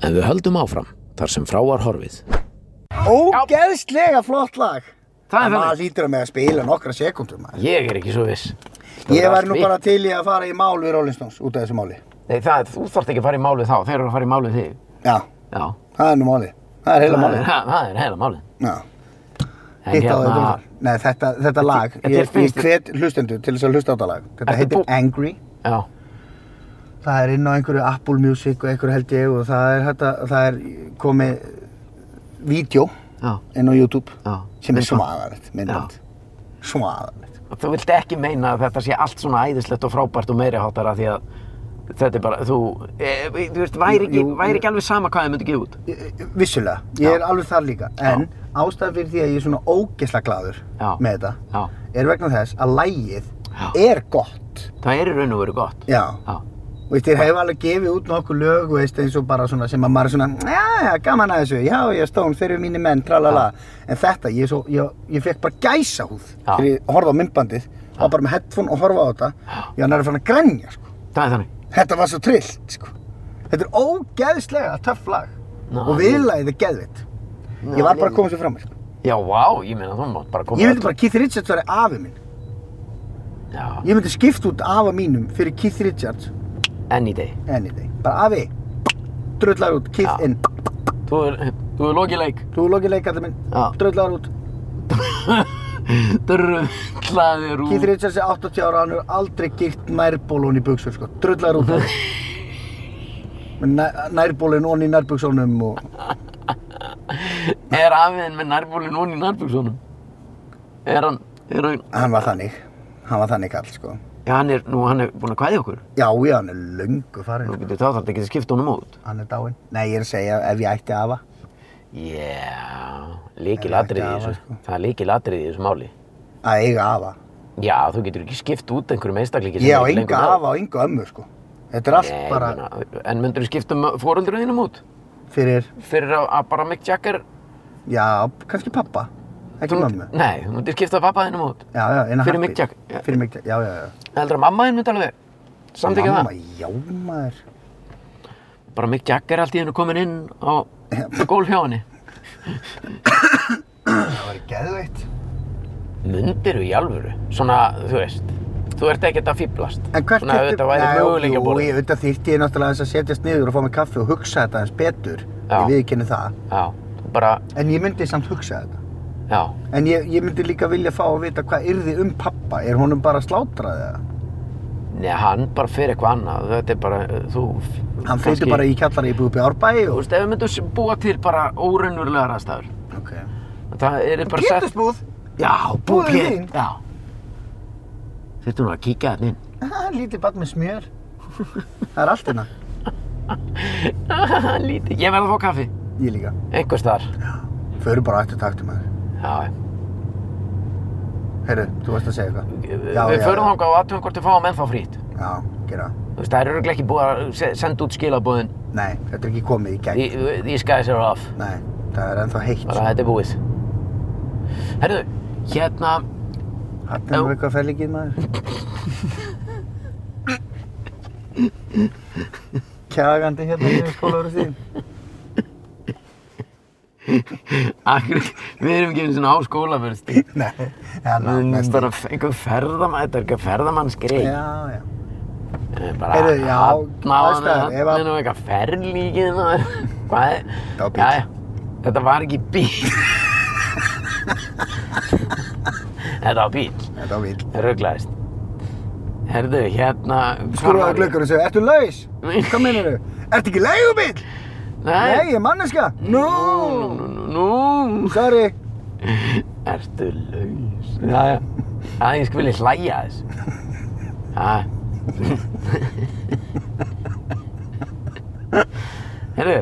A: En við höldum áfram, þar sem fráar horfið.
B: Ógeðslega flott lag.
A: Það er
B: maður
A: þannig.
B: lítur að með að spila nokkra sekundur, maður.
A: Ég er ekki svo viss. Það
B: Ég
A: er
B: var
A: allt
B: nú
A: mitt.
B: bara til í að fara í mál við Rolling Stones út af þessu máli.
A: Nei, það, er- þú þarft ekki að fara í málið þá, þeir eru að fara í málið þig.
B: Já,
A: Já.
B: það er nú málið. Það er heila
A: Það er-
B: málið.
A: Það það er heila málið.
B: Já,
A: En hérna-
B: hitt á þetta. Nei, þetta, þetta lag,
A: þetta er
B: ég, ég
A: fyrst-
B: hvet hlustendur til þess að hlusta á þetta lag. Þetta
A: Ertu
B: heitir
A: bú-
B: Angry.
A: Já,
B: Það er inn á einhverju Apple Music og einhverju held ég og það er, þetta, það er komið vídeo
A: já,
B: inn á YouTube
A: já.
B: sem er
A: Myndband.
B: svaðalegt, myndband. Svaðalegt.
A: Og Þú vilt ekki meina að þetta sé allt svona æðislegt og frábært og meiri hátara því að þetta er bara, þú, e, þú veist, væri ekki,
B: Jú, jú.
A: væri ekki alveg sama hvað þið myndi gefa út.
B: Vissulega, ég er alveg þar líka. En ástæðan fyrir því að ég er svona ógeðslega gladur
A: Já.
B: með þetta
A: Já,
B: er vegna þess að lægið
A: Já.
B: er gott.
A: það er í raun og veru gott.
B: Já.
A: Já,
B: Veist, ég hef alveg gefið út nokkuð lög, veist, eins og bara svona sem að maður er svona, já, já, gaman að þessu, já, já, stón, þeir eru mínir menn, tralala. En þetta, ég, er svo, ég, ég fekk bara gæsa húð
A: Já.
B: þegar ég horfði á myndbandið, og bara með headphone og horfa á þetta, ég var næri fann að grænja, sko.
A: það er þannig.
B: Þetta var svo trillt, sko. Þetta er ógeðslega töff lag
A: Ná,
B: og viðlagið er geðvitt. Ég var bara að koma sér fram, sko.
A: Já, vá, ég meina þú mátt bara koma.
B: Ég vildi bara, Keith Richards var afi minn.
A: Já,
B: Ég myndi skipta út afa mínum fyrir Keith Richards
A: any day.
B: any day. Bara afi, drullar út, Keith
A: Já.
B: in.
A: Þú er, þú er lokið leik.
B: Þú lokið leikallar minn,
A: Já.
B: drullar út.
A: Dröðlaðir úr.
B: Keith Richards er 80 ára, hann hefur aldrei girt nærbólun í buksur, sko. Drullar út. Með næ- nærbólun onni í nærbuksónum og...
A: Er afiðin með nærbúlin hún í nærbúksónum? Er hann, er hann,
B: Hann var þannig. Hann var þannig kall, sko.
A: já hann er, nú hann er búinn að kvæði okkur.
B: Já, já, hann er löngu farinn,
A: Nú
B: sko.
A: getur þá þarf ekki að skipta honum út.
B: Hann er dáinn. Nei, ég er að segja ef ég ætti afa.
A: Já,
B: Nei,
A: líkilatrið í
B: ekki afa,
A: þessu.
B: sko.
A: Það er líkilatrið í þessu máli.
B: Að eiga afa.
A: Já, þú getur ekki skipt út einhverjum einstaklingi
B: Ég á
A: er ekki
B: enga
A: með.
B: afa og enga ömmu, sko. Þetta er allt
A: Nei,
B: bara
A: bara... En myndur þú skipta fóröldrið þínum út?
B: fyrir,
A: Fyrir að, að bara Mick Jagger...
B: já, kannski pappa. Ekki
A: þú
B: mömmu.
A: myndi- Nei, þú myndir skipta pappa þínum út.
B: Já, já, eina
A: Fyrir Mick Jagger, já.
B: Fyrir Mick Jagger, já, já, já.
A: Heldur að mamma þín myndi alveg samtíka það?
B: Mamma, já, maður.
A: Bara Mick Jagger allt í hennu komin inn á gólf hjá henni.
B: Það var geðveitt.
A: Myndir þú í alvöru? Svona, þú veist, þú ert ekkert að fýblast.
B: En hvert
A: Svona, þetta væri
B: Nei,
A: möguleika
B: Jú,
A: bólið.
B: ég auðvitað þýtti ég náttúrulega þess að setjast niður og fá mér kaffi og hugsa þetta eins betur.
A: Já.
B: Ég viðkynni það.
A: Já, þú bara,
B: En ég myndi samt hugsa þetta.
A: já.
B: En ég, ég myndi líka vilja fá að vita hvað yrði um pappa. Er honum bara slátrað eða?
A: Nei, hann bara fyrir eitthvað annað. Þetta er bara, uh, þú...
B: Hann flytur bara í kjallari í búið árbæi
A: Þú
B: og...
A: veist, ef við myndum s- búa til bara órunverulegar aðstæður.
B: Ok.
A: Það er bara sett...
B: Pétursbúð?
A: Já, búa
B: Búðin
A: pét.
B: þín?
A: Já. Þetta nú að kíka þetta inn.
B: Ah, Lítið barn með smjör. það er allt hérna.
A: Lítið. Ég verð að fá kaffi.
B: Ég líka.
A: Einhvers þar.
B: Föru bara eftir taktum að þér.
A: Já,
B: Heyrðu, þú varst að segja eitthvað. Já,
A: við
B: já,
A: förum
B: já.
A: þangað og aðtöfum hvort við fáum ennþá frýtt.
B: Já, gera það.
A: Þú veist, það er örugglega ekki búið að se- senda út skilabóðin.
B: Nei, þetta er ekki komið í gegn.
A: The- These guys are off.
B: Nei, það er ennþá heitt.
A: Bara þetta er búið. Herðu, hérna,
B: Þetta er nú eitthvað fellingið maður. Kjagandi hérna í skólaður sín.
A: Akkur, við erum ekki einu sinni á skólaverðstíð.
B: Nei, það er
A: Við erum
B: náttúrulega.
A: bara f- einhver ferðamann, þetta er eitthvað ferðamannsgrei.
B: Já, já.
A: Eh, Bara
B: Heyrðu, já,
A: náðan
B: aðstæður,
A: það,
B: ef
A: það
B: að-
A: er nú eitthvað ferlíkið maður. Hvað er?
B: Það var bíll.
A: Jæja, þetta var ekki bíl. þetta var bíl,
B: Þetta var vill.
A: það rugglaðist. Herðu, hérna...
B: Skrúaðu glöggur og segja, ertu laus? Hvað meinar þú? Ertu ekki leigubill? Nei,
A: Nei.
B: ég er manneska. Nú,
A: Nú, nú, nú, nú.
B: sorry.
A: Ertu laus? Jæja. Það ég skvili hlæja að þessu. Jæja. Herru,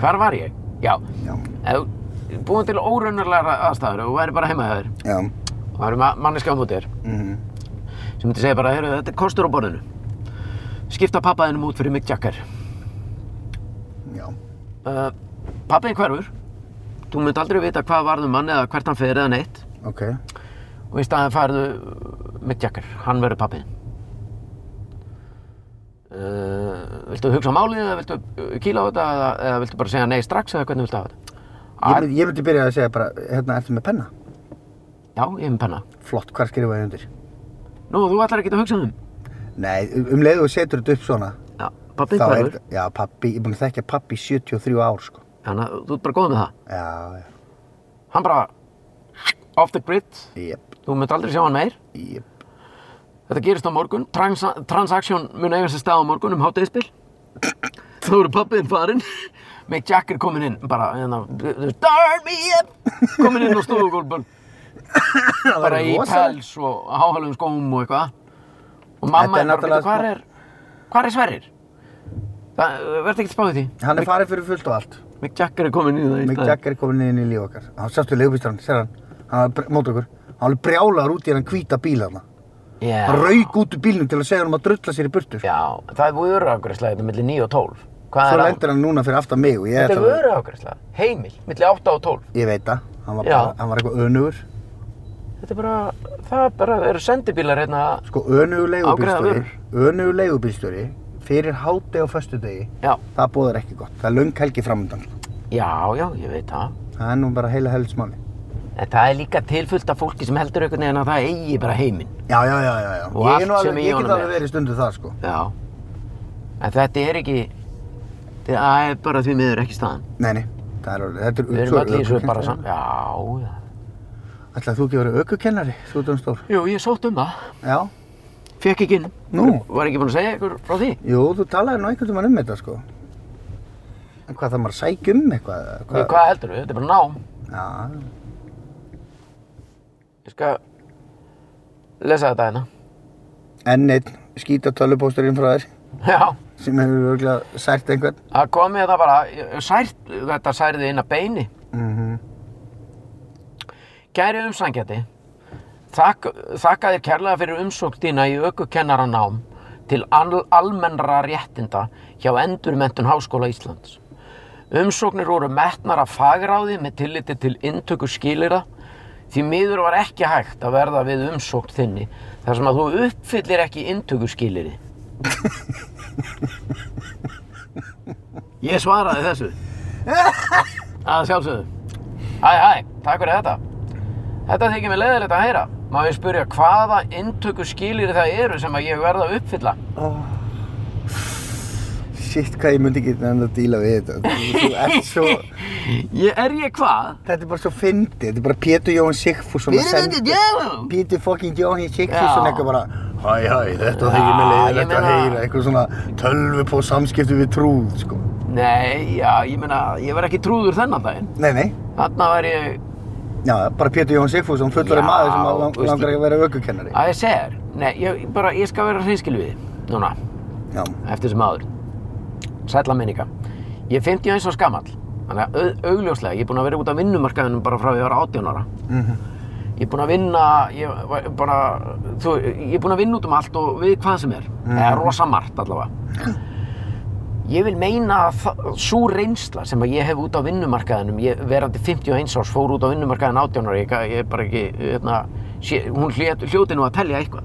A: hvar var ég? Já.
B: Já,
A: Ef þú búin til óraunarlega aðstæður og þú væri bara heima hjá þér
B: já.
A: og það eru ma- manneskja á móti þér
B: mhm.
A: sem myndi segja bara, herru, þetta er kostur á borðinu. Skipta pappaðinum út fyrir Mick Jagger.
B: Já,
A: Uh, pappaðin hverfur. Þú mynd aldrei vita hvað varðum mann eða hvert hann fer eða neitt.
B: ok.
A: og í staðin færðu Mick Jagger, hann verður pappið uh, Viltu hugsa málið eða viltu uh, kýla á þetta eða, eða viltu bara segja nei strax eða hvernig viltu hafa þetta?
B: Ég
A: Ar,
B: myndi, ég myndi byrja að segja bara, hérna, ertu með penna?
A: já, ég hef með penna
B: Flott, hvað skrifaði ég undir?
A: Nú, þú ætlar ekki að hugsa um þeim
B: Nei, um leiðu og setur þetta upp svona,
A: Já, pappið hverfur,
B: já, pappi, ég er búin að þekkja pappi í 73 ár, sko.
A: þannig að þú ert bara góð með það
B: Já, já,
A: Hann bara off the grid,
B: jep,
A: þú mynd aldrei sjá hann meir
B: jep.
A: Þetta gerist á morgun, Trans transaksjón mun eiga sér stað á morgun um hátegisbil Þá eru pappiðin farinn Mick Jagger kominn inn, bara hérna, Darn me up Kominn inn á stofugólbun
B: Það
A: Bara
B: væri
A: í
B: rosalegt.
A: pels og háhælum skóm og eitthvað Og mamma
B: Þetta er
A: er bara, hvar
B: náttúrulega sko-
A: er, hvar er Sverrir? Það verður ekkert spáðið því
B: Hann er farið fyrir fullt og allt.
A: Mick Jagger er kominn inn í það í
B: Mick
A: staðinn.
B: Jagger er komin inn í líf okkar. Hann sástu leigubílstrann, sér hann, hann var br- mót okkur. Hann var alveg brjálaður út í hann hvíta bíl hann. Hann
A: Já,
B: rauk út úr bílnum til að segja hann um að drulla sér í burtu. sko.
A: já, það er vöruafgræsla þetta milli 9 og 12 Hvað
B: Svo
A: er á?
B: lendir hann núna fyrir aftan mig og ég
A: Þetta er
B: ætla að...
A: vöruafgræsla, heimil, milli 8 og 12
B: Ég veit það, hann var
A: Já.
B: bara, hann var eitthvað önugur.
A: Þetta er bara, það er bara, það eru sendibílar hérna,
B: Sko, önugur leigubílstjóri,
A: Ágreiða
B: önugur leigubílstjóri, fyrir hátegi og föstudegi,
A: já,
B: það bóðar ekki gott. Það er löng helgi framöndan. sko.
A: já, já, ég veit það.
B: Það er nú bara heila helgismáli.
A: En það er líka tilfullt af fólki sem heldur einhvern veginn að það eigi bara heiminn.
B: Já, já, já, já, já.
A: Og
B: Ég,
A: allt
B: er nú
A: sem
B: alveg,
A: í
B: ég
A: honum
B: get alveg
A: er.
B: verið stundu það, sko.
A: Já. En þetta er ekki, það er bara því miður ekki staðan.
B: Nei, nei, það er alveg, þetta er
A: Við erum
B: svo
A: allir í þessu
B: ökukennari.
A: bara saman. Já, já.
B: Ætlaði þú ekki að vera aukukennari, þú ert um stór?
A: Jú, ég sótt um það.
B: Já.
A: Fekk ekki inn.
B: Nú?
A: Var ekki búinn að segja ykkur frá því?
B: Jú, þú talaði nú einhvern veginn um þetta, sko. En hvað þarf maður að sækja um eitthvað? eða
A: Hvað, hvað heldur Þetta er bara nám.
B: Já,
A: Ég skal lesa þetta hérna.
B: enn einn skýta tölupósturinn frá þér
A: Já.
B: sem hefur örgulega sært einhvern.
A: Það kom ég það bara, ég- sært, þetta særði inn að beini.
B: Mm
A: Mhm. Kæri umsækjandi, þak, þakka þér kærlega fyrir umsókn þína í ökukennaranám til al, almennra réttinda hjá Endurmentun Háskóla Íslands. Umsóknir voru metnar af fagráði með tilliti til inntöku skilira því miður var ekki hægt að verða við umsókn þinni þar sem að þú uppfyllir ekki inntöku skiliri. Ég svaraði þessu. Að sjálfsögðu. Hæ, hæ, takk fyrir þetta. Þetta þykir mér leiðilegt að heyra. Má ég spyrja hvaða inntöku skýlir það eru sem að ég verða að uppfylla?
B: Oh. Shit, hvað ég myndi ekki nefn að díla við þetta. Þú þú ert svo,
A: Ég, er ég hvað?
B: þetta er bara svo fyndið. Þetta er bara Pétur Jóhann Sigfússon að senda.
A: já!
B: Pétur fucking Jóhann Sigfússon
A: Já.
B: eitthvað bara Hæ, hæ, þetta
A: Já,
B: þykir mér
A: ég
B: leiðilegt að
A: meina-
B: heyra. Eitthvað svona tölvupó samskipti við trúð, sko.
A: Nei, já, ég meina, ég verð ekki trúður þennan daginn.
B: Nei, nei.
A: Þarna væri ég,
B: Já, bara Pétur Jóhann Sigfússon, fullari
A: Já,
B: maður sem að lang,
A: veist
B: langar
A: ég-
B: að vera ökukennari.
A: að ég segja þér. Nei, ég bara, ég skal vera hreinskil við þið. Núna,
B: Já,
A: eftir sem áður. Sætla minninga. Ég er 50 eins og skamall. Þannig að au- augljóslega, ég er búinn að vera út af vinnumarkaðinum bara frá því að ég var 18 ára.
B: mhm,
A: Ég er búinn að vinna, ég, var bara, þú, ég er búinn að vinna út um allt og við hvað sem er.
B: Mhm.
A: Eða rosa margt allavega. Ég vil meina að svo reynsla sem að ég hef út á vinnumarkaðinum, ég verandi 51 árs fór út á vinnumarkaðin 18 ára, ég, ga- ég er bara ekki, hérna, sé, hún hljó, hljóti nú að telja eitthvað.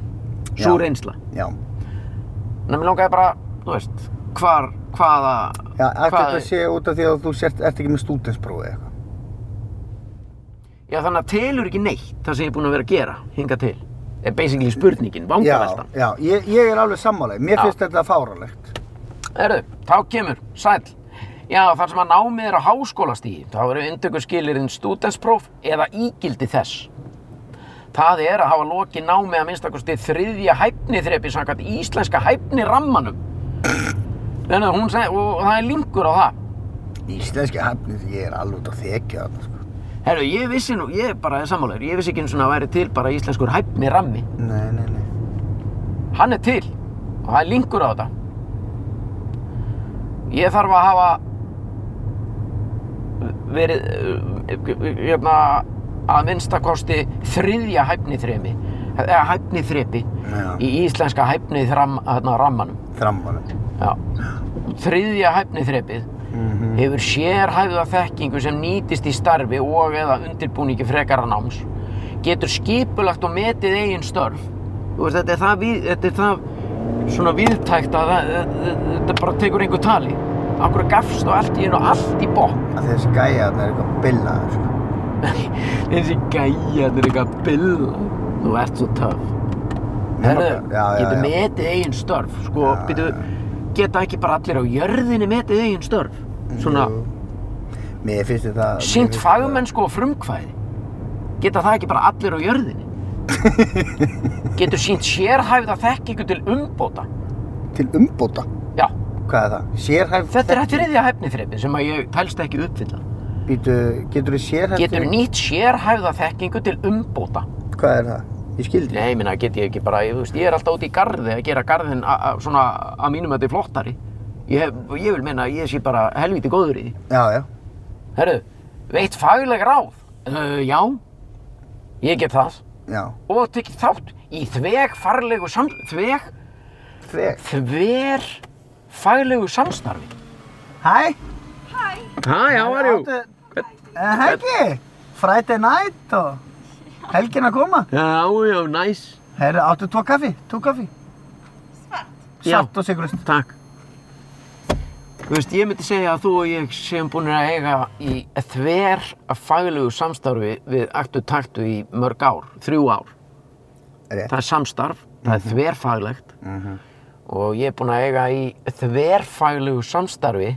A: Svo
B: Já.
A: reynsla.
B: já,
A: Þannig að mér langaði bara þú veist, hvar, hvaða,
B: Já,
A: hvað-
B: ætti þetta að sé út af því að þú sért, ert ekki með stúdensprófi eða eitthvað.
A: já þannig að telur ekki neitt það sem ég er búinn að vera að gera, hinga til, er basically spurningin, vangaveltan.
B: Já, já, ég, ég er alveg sammálaug. Mér
A: Já.
B: finnst þetta fáralegt.
A: Erðu, þá kemur, sæll. Já, þar sem að námið er á háskólastígi, þá eru inntöku skilirinn stúdenspróf eða ígildi þess. Það er að hafa lokið námið að minnstakosti þriðja hæfniþrepi samkvæmt íslenska hæfnirammanum. Þannig að hún segi, og það er linkur á það.
B: Íslenski hafnir, ég er alveg út að þekja þarna, sko.
A: Herru, ég vissi nú, ég er bara sammálaður, ég vissi ekki eins og það væri til bara íslenskur hæfnirammi.
B: Nei, nei, nei.
A: Hann er til og það er linkur á þetta. Ég þarf að hafa verið, uh, hérna, að minnstakosti þriðja hæfni þremi, eða hæfni þrepi
B: Já.
A: í íslenska hæfni þram, hérna, rammanum.
B: Þrammanum.
A: Já. Þriðja hæfni þrepið
B: Mhm.
A: hefur sérhæfða þekkingu sem nýtist í starfi og eða undirbúningi frekara náms getur skipulagt og metið eigin störf Þú veist, þetta er það, við, þetta er það svona viðtækt að það, þetta bara tekur einhver tali Akkur gafst og allt í einu allt í bótt
B: Að þessi gæja þarna er eitthvað billaður, sko.
A: Þessi gæja, þetta er eitthvað billa Þú ert svo töff Herðu,
B: Já, já,
A: getur
B: já.
A: metið eigin störf sko,
B: Já,
A: býtu, geta ekki bara allir á jörðinni metið eigin störf svona,
B: Jú. Mér finnst þetta... mér
A: sínt
B: finnst
A: fagmenn sko og frumkvæði geta það ekki bara allir á jörðinni getur sínt sérhæfða þekkingu til umbóta
B: þetta Til umbóta.
A: já,
B: Hvað er það? Sérhæf...
A: þetta er þetta þriðja hefniþrepi sem að ég telst ekki uppfylla
B: Býtu, getur þú sérhæf...
A: getur nýtt sérhæfða þekkingu til umbóta
B: Hvað er það? Ég skildi.
A: nei, minna, get ég ekki bara, ég, þú veist, ég er alltaf úti í garði að gera garðin a- a- svona að mínum að þetta er flottari ég, hef, ég vil minna að ég sé bara helviti góður í því
B: Já, já.
A: Herru, veitt fagleg ráð? Uh, já, ég get það.
B: Já.
A: Og tekið þátt í þveg farlegu sam... Þveg?
B: Þeg.
A: Þver faglegu samstarfi.
B: Hæ? Eh,
A: Hæ, já,
B: Helgi, Friday night og helgin að koma.
A: Já, já, næs.
B: Herru, áttu tvo kaffi, tvo kaffi.
A: Já.
B: Svart og sigurlust.
A: Takk. Þú veist, ég myndi segja að þú og ég séum búin að eiga í þver faglegu samstarfi við aktu taktu í mörg ár, þrjú ár.
B: Rétt.
A: Það er samstarf, það
B: Mhm.
A: er þverfaglegt og ég er búinn að eiga í þverfaglegu samstarfi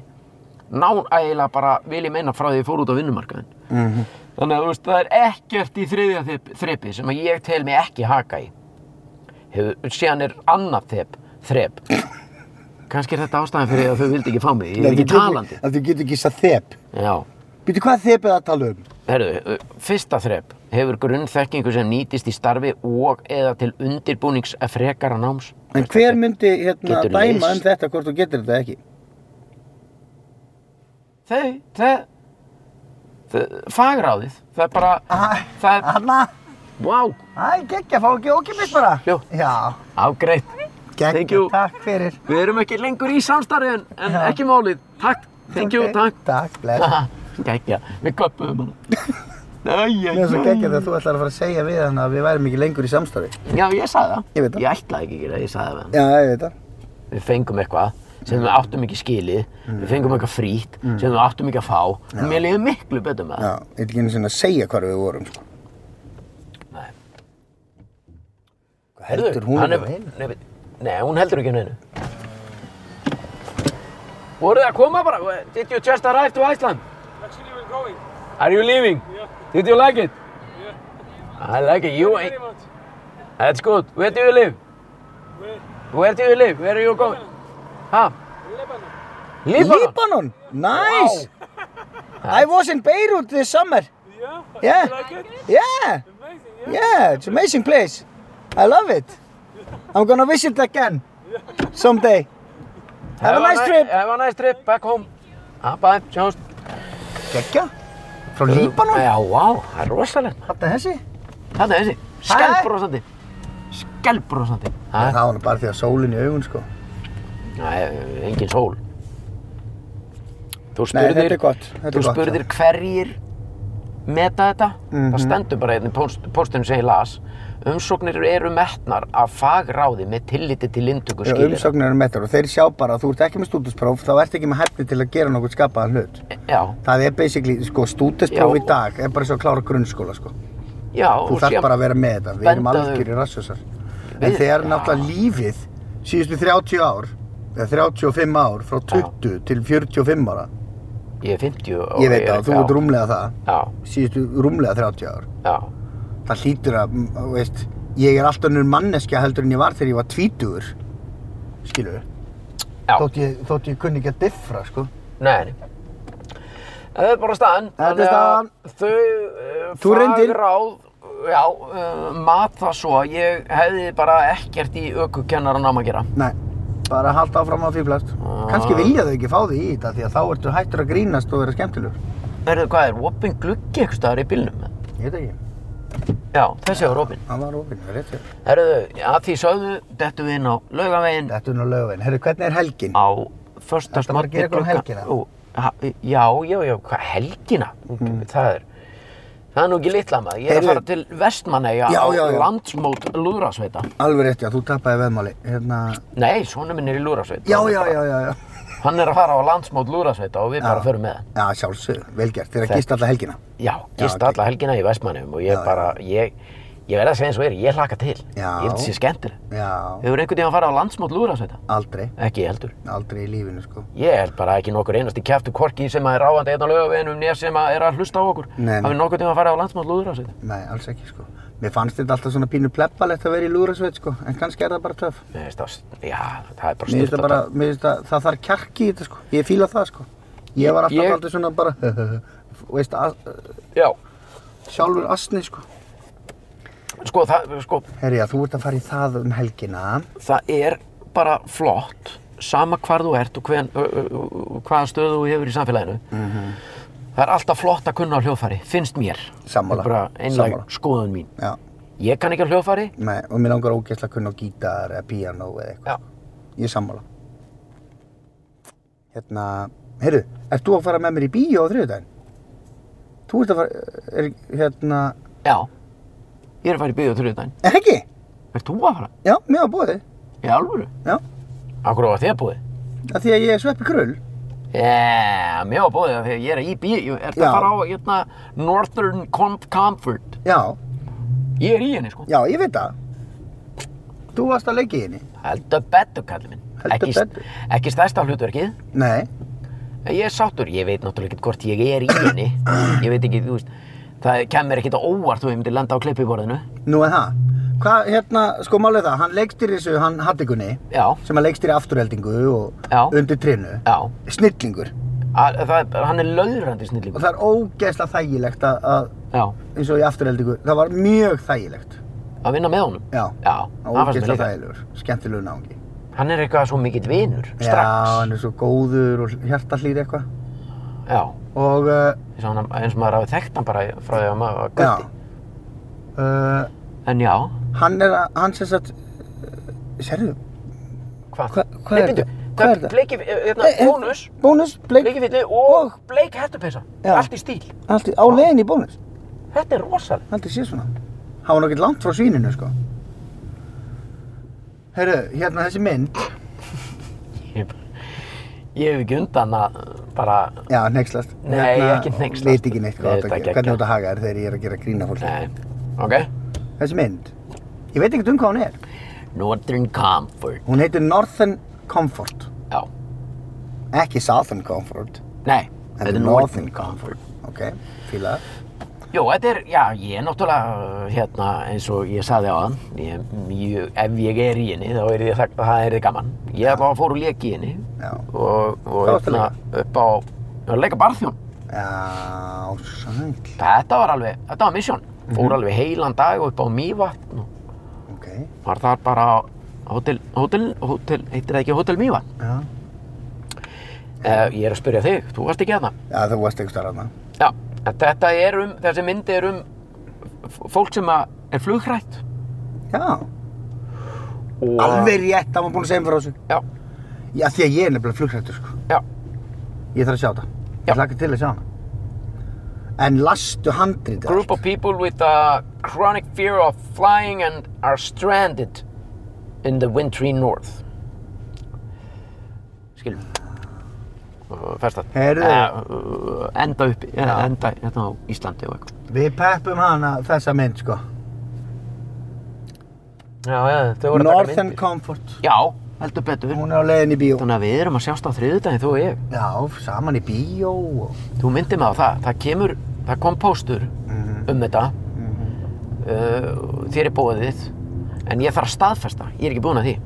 A: nán ægilega bara vil ég meina frá því ég fór út á vinnumarkaðin.
B: Mhm.
A: Þannig að þú veist, það er ekkert í þriðja þep- þrepi sem að ég tel mig ekki haka í. Hefur, síðan er annað þep, þrep. Kannski er þetta ástæðan fyrir að þau vildi ekki fá mig, ég er ekki talandi.
B: Að þú getur ekki satt þep.
A: Já.
B: Býtu, hvað þep er það að tala um?
A: Herðu, fyrsta þrepp hefur grunnþekkingu sem nýtist í starfi og eða til undirbúnings að frekara náms.
B: En hver myndi hérna
A: Getur
B: dæma
A: leyst.
B: um þetta hvort þú getur þetta ekki?
A: Þau, það, það, fagráðið, það er bara,
B: Ah.
A: það er,
B: Hanna,
A: vá,
B: hæ, geggja, fá ekki ókipið bara.
A: Jú.
B: Já,
A: ágreitt. Thank
B: geggja,
A: you.
B: takk fyrir.
A: Við erum ekki lengur í samstarfi en, en
B: Já.
A: ekki málið. Takk, thank you,
B: Ok,
A: takk.
B: Takk, bless.
A: Gækja, við köpum hana. Æja,
B: Mér er svo geggja þegar þú ætlar að fara að segja við hann að við værum ekki lengur í samstarfi.
A: Já, ég sagði það.
B: Ég veit það.
A: Ég ætlaði ekki að gera það, ég sagði það við hann.
B: Já, ég veit það.
A: við fengum eitthvað sem við áttum ekki skilið,
B: Mm.
A: við fengum eitthvað frítt sem við áttum ekki að fá og mér liði miklu betur með
B: Já,
A: það.
B: ég vil ekki einu sinni að segja hvar við vorum, sko.
A: Nei.
B: Hvað heldur hún
A: hann
B: um
A: er-
B: hinn?
A: Nei, við- nei, hún heldur ekki um hennu. Voruð þið að koma bara? Did you just arrive to Iceland?
C: Actually, we're going.
A: Are you leaving?
C: Yeah.
A: Did you like it?
C: Yeah.
A: I like it. You
C: Very much.
A: That's good. Where do you live?
C: Where?
A: Where do you live? Where are you going? Huh?
C: Lebanon.
A: Líbanon?
B: Líbanon! Nice! I was in Beirut this summer.
C: Yeah.
B: Yeah.
C: You like it?
B: Yeah!
C: Amazing. Yeah.
B: Yeah, it's an amazing place. I love it. I'm gonna visit again someday. Have a nice
A: ni-
B: trip.
A: Have a nice trip back home. Ah, bye. Sjáumst.
B: Gekja? Frá Líbanon?
A: Já, vá, það er rosalegt.
B: Þetta þessi?
A: Þetta er þessi, skælbrósandi Skælbrósandi
B: Það var hann bara því að sólinn í augun sko.
A: Nei, engin sól Þú
B: Nei,
A: spurðir,
B: þetta er gott, þetta er
A: þú
B: gott,
A: spurðir hverjir meta þetta,
B: Mhm.
A: það stendur bara hérna í póst, póstunum sem ég las umsóknir eru metnar af fagráði með tilliti til inntöku
B: Já,
A: skilyrða.
B: umsóknir eru mettar og þeir sjá bara að þú ert ekki með stúdinspróf, þá ert ekki með hæfni til að gera nokkuð skapaðan hlut.
A: Já,
B: Það er basically, sko, stúdinspróf
A: Já.
B: í dag er bara svo að klára grunnskóla, sko.
A: já.
B: Þú
A: og
B: þarf
A: síðan-
B: bara að vera með þetta, við erum
A: Benda þau-
B: algjörði rassjósar. En
A: Við-
B: þegar
A: já.
B: náttúrulega lífið, síðustu 30 ár, eða 35 ár, frá 20 til 45 ára,
A: Ég er 50 og
B: ég veit
A: er-
B: það, þú
A: já,
B: ert rúmlega það,
A: Já,
B: síðustu rúmlega 30 ár.
A: já,
B: Það hlýtur að, m- veist, ég er alltaf önnur manneskja heldur en ég var þegar ég var tvítugur, skilu.
A: já.
B: Þótt ég, þótt ég kunni ekki að diffra, sko.
A: Nei, nei. En þetta er bara staðan.
B: Þetta er
A: þannig að
B: staðan.
A: Þau
B: Þú
A: uh,
B: reyndir.
A: fagráð, já, uh, mat það svo að ég hefði bara ekkert í ökukennaranám að gera.
B: Nei, bara halda áfram á því flest. Kanski vilja þau ekki fá því í þetta því að þá ertu hættur að grínast og vera skemmtilegur.
A: Verðu, hvað er, opinn gluggi eitthvað staðar í bílnum?
B: Ég veit ekki,
A: Já, þessi var opinn.
B: hann var ofinn, það er rétt hér.
A: Herðu, að því sögðu, dettu við inn á laugaveginn
B: Þetta er nú lögveginn. Herru, hvernig er helgin?
A: á
B: Ertu að fara að
A: förstagsmorgni
B: gera eitthvað um helgina?
A: Já, já, já, hvað helgina? Það er, það er nú ekki litla maður. Ég er
B: Mm. Heyrðu.
A: að fara til Vestmanneja
B: Já, já,
A: á
B: já.
A: landsmót Lúðrasveita.
B: Alveg rétt, já, þú tapaði veðmáli. Hérna,
A: Nei, svona minn er í Lúðrasveita.
B: já, já, já, já, já.
A: Hann er að fara á landsmót Lúðrasveita og við bara förum með hann.
B: Já, sjálfsögur, velgjart, þér að
A: Þetta-
B: gista alla helgina.
A: Já, gist
B: Já, ok.
A: alla helgina í Vestmannejum og ég
B: Já, já.
A: bara, ég, ég verð að segja eins og er, ég hlaka til.
B: Já.
A: Ég held sér skemmtileg.
B: Já,
A: Hefur einhvern tíma að fara á landsmót Lúðrasveita?
B: aldrei,
A: Ekki ég heldur.
B: aldrei í lífinu, sko.
A: Ég held bara ekki nokkur einasti kjæftu korki sem að er ráðandi einn á lögaveginum nér sem að er að hlusta á okkur.
B: Nei, nei.
A: Hafið nokkur tíma að fara á landsmátt lúður á sig.
B: Nei, alls ekki, sko. Mér fannst þetta alltaf svona pínu plebbalegt að vera í lúrasveit, sko, en kannski er það bara töf.
A: Mér finnst það, já, það er bara
B: Mér finnst
A: styrta.
B: það bara, mér finnst það, það þarf kjarki í þetta sko, ég fíla það sko. Ég var alltaf
A: Ég-
B: aldrei svona bara, veist, að,
A: Já,
B: sjálfur asni sko.
A: sko það, sko,
B: Herja, þú ert að fara í það um helgina.
A: það er bara flott, sama hvar þú ert og hven, ö, ö, ö, hvaða stöðu þú hefur í samfélaginu.
B: Mhm.
A: Það er alltaf flott að kunna á hljóðfæri, finnst mér. Það
B: Sammála,
A: er bara einlega
B: sammála.
A: skoðun mín.
B: Já,
A: Ég kann ekki á hljóðfæri,
B: nei, og mér langar ógeðslega að kunna á gítar eða píano eða eitthvað.
A: já,
B: Ég er sammála. Hérna, heyrðu, ert þú að fara með mér í bíó á þriðudaginn? Þú ert að fara, er, hérna,
A: já. Ég er að fara í byggðu þrjóðdæn.
B: ekki?
A: Er þú að fara?
B: Já, mér var bóðið,
A: Í alvöru?
B: já.
A: Akkur á að þið búið?
B: Af því að ég er sveppi krull.
A: Já, mér var bóðið það þegar ég er í bíó, er það
B: Já.
A: að fara á hérna, Northern Com Comfort.
B: Já,
A: Ég er í henni sko.
B: já, ég veit það. Þú varst að leggja í henni.
A: Heldur betur, kallið minn.
B: Heldur
A: ekki, st-
B: betur.
A: Ekki stærsta hlutverkið.
B: Nei,
A: En Ég er sáttur, ég veit náttúrulega ekkert hvort ég er í henni. Ég veit ekki, þú veist, það kemur ekkert á óvart þú myndir lenda á klippiborðinu.
B: nú er það. Hvað, hérna, sko málið er það, hann leikstýri þessu, hann Hattikunni,
A: Já,
B: sem að leikstýri afturheldingu og
A: Já.
B: undir trinnu.
A: já.
B: Snillingur.
A: Að, það, er- hann er löðrandi
B: Og
A: snillingur.
B: það er ógeðslega þægilegt að, að,
A: Já,
B: eins og í afturheldingu, það var mjög þægilegt.
A: að vinna með honum.
B: Já.
A: Já, hann
B: Og
A: fannst mér
B: Ógeðslega
A: líka.
B: þægilegur, skemmtilegur náungi.
A: Hann er eitthvað svo mikill vinur,
B: Já,
A: strax.
B: hann er svo góður og hjartallýr eitthvað.
A: Já,
B: Og, uh,
A: ég sá hann- eins og maður hafi þekkt hann bara frá því að maður var
B: já.
A: gutti.
B: Uh,
A: En já,
B: hann er að, hann sem sagt, uh, sérðu,
A: Hvað?
B: Hva- hvað
A: Nei,
B: er
A: bíddu,
B: þetta?
A: það er
B: Hvað er þetta?
A: Bleiki, hérna,
B: Nei, er-
A: bónus,
B: Eh, bónus, bleik,
A: bleikifilli og bleik hættupeysa.
B: Já.
A: Allt í stíl.
B: allt í, á leiðin í bónus.
A: Þetta er rosalega.
B: Aldrei sé svona. Hann var nokkið langt frá svíninu, sko. Herru, hérna þessi mynd.
A: Ég, ég hef ekki undan að bara,
B: Já, hneykslast.
A: Nei, ekki hneykslast.
B: Veit ekki neitt
A: Nei, þetta
B: hvað þetta
A: geggjað.
B: gerir. Hvernig þú ert að haga þér þegar ég er að gera grína fólki.
A: nei, Eh, ok.
B: Þessi mynd. Ég veit ekkert um hvað hún er.
A: Northern Comfort.
B: Hún heitir Northern Comfort.
A: Já,
B: Ekki Southern Comfort.
A: nei, þetta er Northern Comfort.
B: Ok, fíla það.
A: Jó, þetta er, já, ég er náttúrulega, uh, hérna, eins og ég saði á hann, ég, er mjög, ef ég er í henni, þá er ég það, það er þið gaman. Ég ætla að fóru að leka í henni
B: Já.
A: og, og
B: Hvað varstu að
A: upp á, að leika barþjón.
B: Já, sæl.
A: Þetta var alveg, þetta var misjón. Fór alveg heilan dag upp á Mývatn og
B: Ok,
A: var þar bara á hótel, hótel, hótel, heitir það ekki hótel Mývatn?
B: já.
A: Eh, ég er að spyrja þig, þú varst ekki að það.
B: Já, þú varst einhvers þar aðna.
A: Já, en þetta er um, þessi myndi er um f- fólk sem að er flugrætt.
B: Já.
A: Og,
B: Alveg rétt, hann var búinn að segja mér frá þessu.
A: Já,
B: Já, því að ég er nefnilega flugrættur, sko.
A: já,
B: Ég þarf að sjá þetta.
A: Já.
B: Ég hlakka til að sjá hana. en lastu handrið
A: group of people with a chronic fear of flying and are stranded in the wintry north skilum festat
B: Heyrðu.
A: uh, enda uppi, ja. enda hérna á Íslandi og eitthvað
B: Við peppum hana þessa mynd sko
A: já, já, þau voru að taka
B: Northern
A: myndir.
B: Comfort
A: já, heldur betur
B: Hún er á leiðin í bíó
A: þannig að við erum að sjást á þriðudaginn þú og ég
B: Já, saman í bíó og...
A: þú myndir mig á það, það kemur það kom póstur um þetta
B: Mhm.
A: uh, þér er bóðið en ég þarf að staðfesta, ég er ekki búinn að því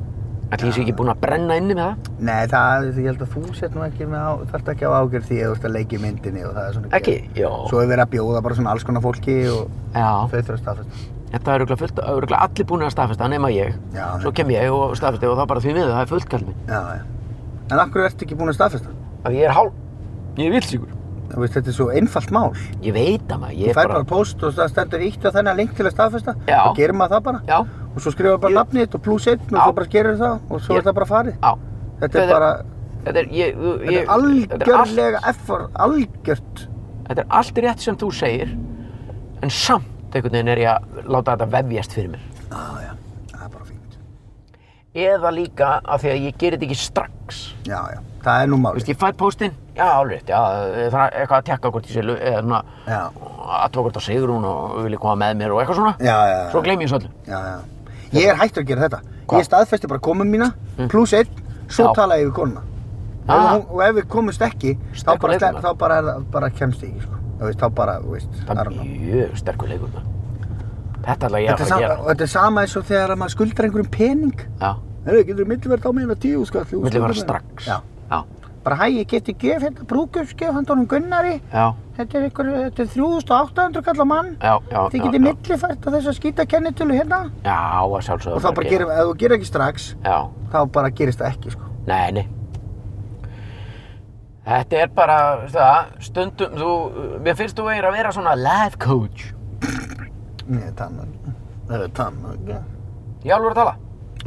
A: ætli ég sé ekki búinn að brenna inni með það
B: Nei, það, ég held að þú sett nú ekki með á, þarft ekki á ágjörð því að þú ert að leiki myndinni og það er svona
A: ekki, já,
B: Svo er verið að bjóða bara svona alls konar fólki og þau
A: já
B: þurfa að staðfesta
A: þetta er örugglega fullt, örugglega allir búin að staðfesta nema ég,
B: Já,
A: svo kem ég og staðfesta og þá bara því miður, það er fullt kall minn
B: Já, já En af hverju ertu ekki búin að staðfesta?
A: að ég er hálf, ég er vilsíkur
B: Þú veist, þetta er svo einfalt mál
A: ég veit það maður, ég
B: Þú
A: er
B: fær
A: bara
B: bara post og það stendur ítt á þennan link til að staðfesta
A: Já.
B: Þá gerir maður það bara
A: já,
B: Og svo skrifa bara nafnið þitt og pluss einn og
A: Já.
B: svo bara gerir það og svo
A: Ég-
B: er það bara farið
A: á
B: Þetta
A: Þetta-
B: er bara,
A: þetta er, ég, þú-
B: þetta
A: ég
B: er algjörlega effort, algjört
A: Þetta er allt rétt sem þú segir en samt einhvern veginn er ég að láta þetta vefjast fyrir mér.
B: Já, já, það er bara fínt
A: Eða líka af því að ég gerir þetta ekki strax.
B: Já, já, það er nú
A: Þú
B: máli
A: veist, ég fæ póstinn, já, alveg, já, það er eitthvað að tekka hvort ég sé, lu- eða svona,
B: Já,
A: aðtöku hvort að Sigrún og vilja koma með mér og eitthvað svona.
B: já, já, já.
A: Svo gleym ég þessu öllu.
B: já, já. Ég er hættur að gera þetta
A: Hvað? Mm.
B: Ég staðfesti bara komum mína, pluss einn Svo
A: Já.
B: tala ég við konuna
A: Ah.
B: ah. og, og ef við komumst ekki þá
A: Sterkur
B: bara,
A: leikur, maður.
B: þá bara, er það- bara kemst ég ekki sko. Þú veist, Þá bara, þú veist, I
A: Það
B: don't
A: er
B: know
A: mjög sterkur leikur maður. Þetta ætla ég
B: Þetta
A: að fara að
B: er, sama,
A: gera.
B: og þetta er sama eins og þegar að maður skuldar einhverjum pening
A: Já,
B: Hefur, getur þú milliverð á mig hérna tíu skall þú
A: milli
B: skuldar
A: vera
B: mér.
A: strax.
B: Já,
A: Já,
B: bara hæ, ég geti gef hérna brúkjöfskjöf handónum Gunnari
A: já,
B: Þetta er einhver, þetta er 3800 kall á mann
A: já, já.
B: Þið
A: já,
B: getið
A: já.
B: millifært á þess að skýta kennitölu hérna
A: Já, að sjálfsögðu.
B: Og þá bara gerum, ef þú gerir ekki strax
A: Já.
B: þá bara gerist það ekki sko
A: Nei, nei. Þetta er bara, veistu það, stundum, þú, mér finnst þú eigir að vera svona life coach.
B: Nei, tannan Það er tannan
A: Ég alveg að tala.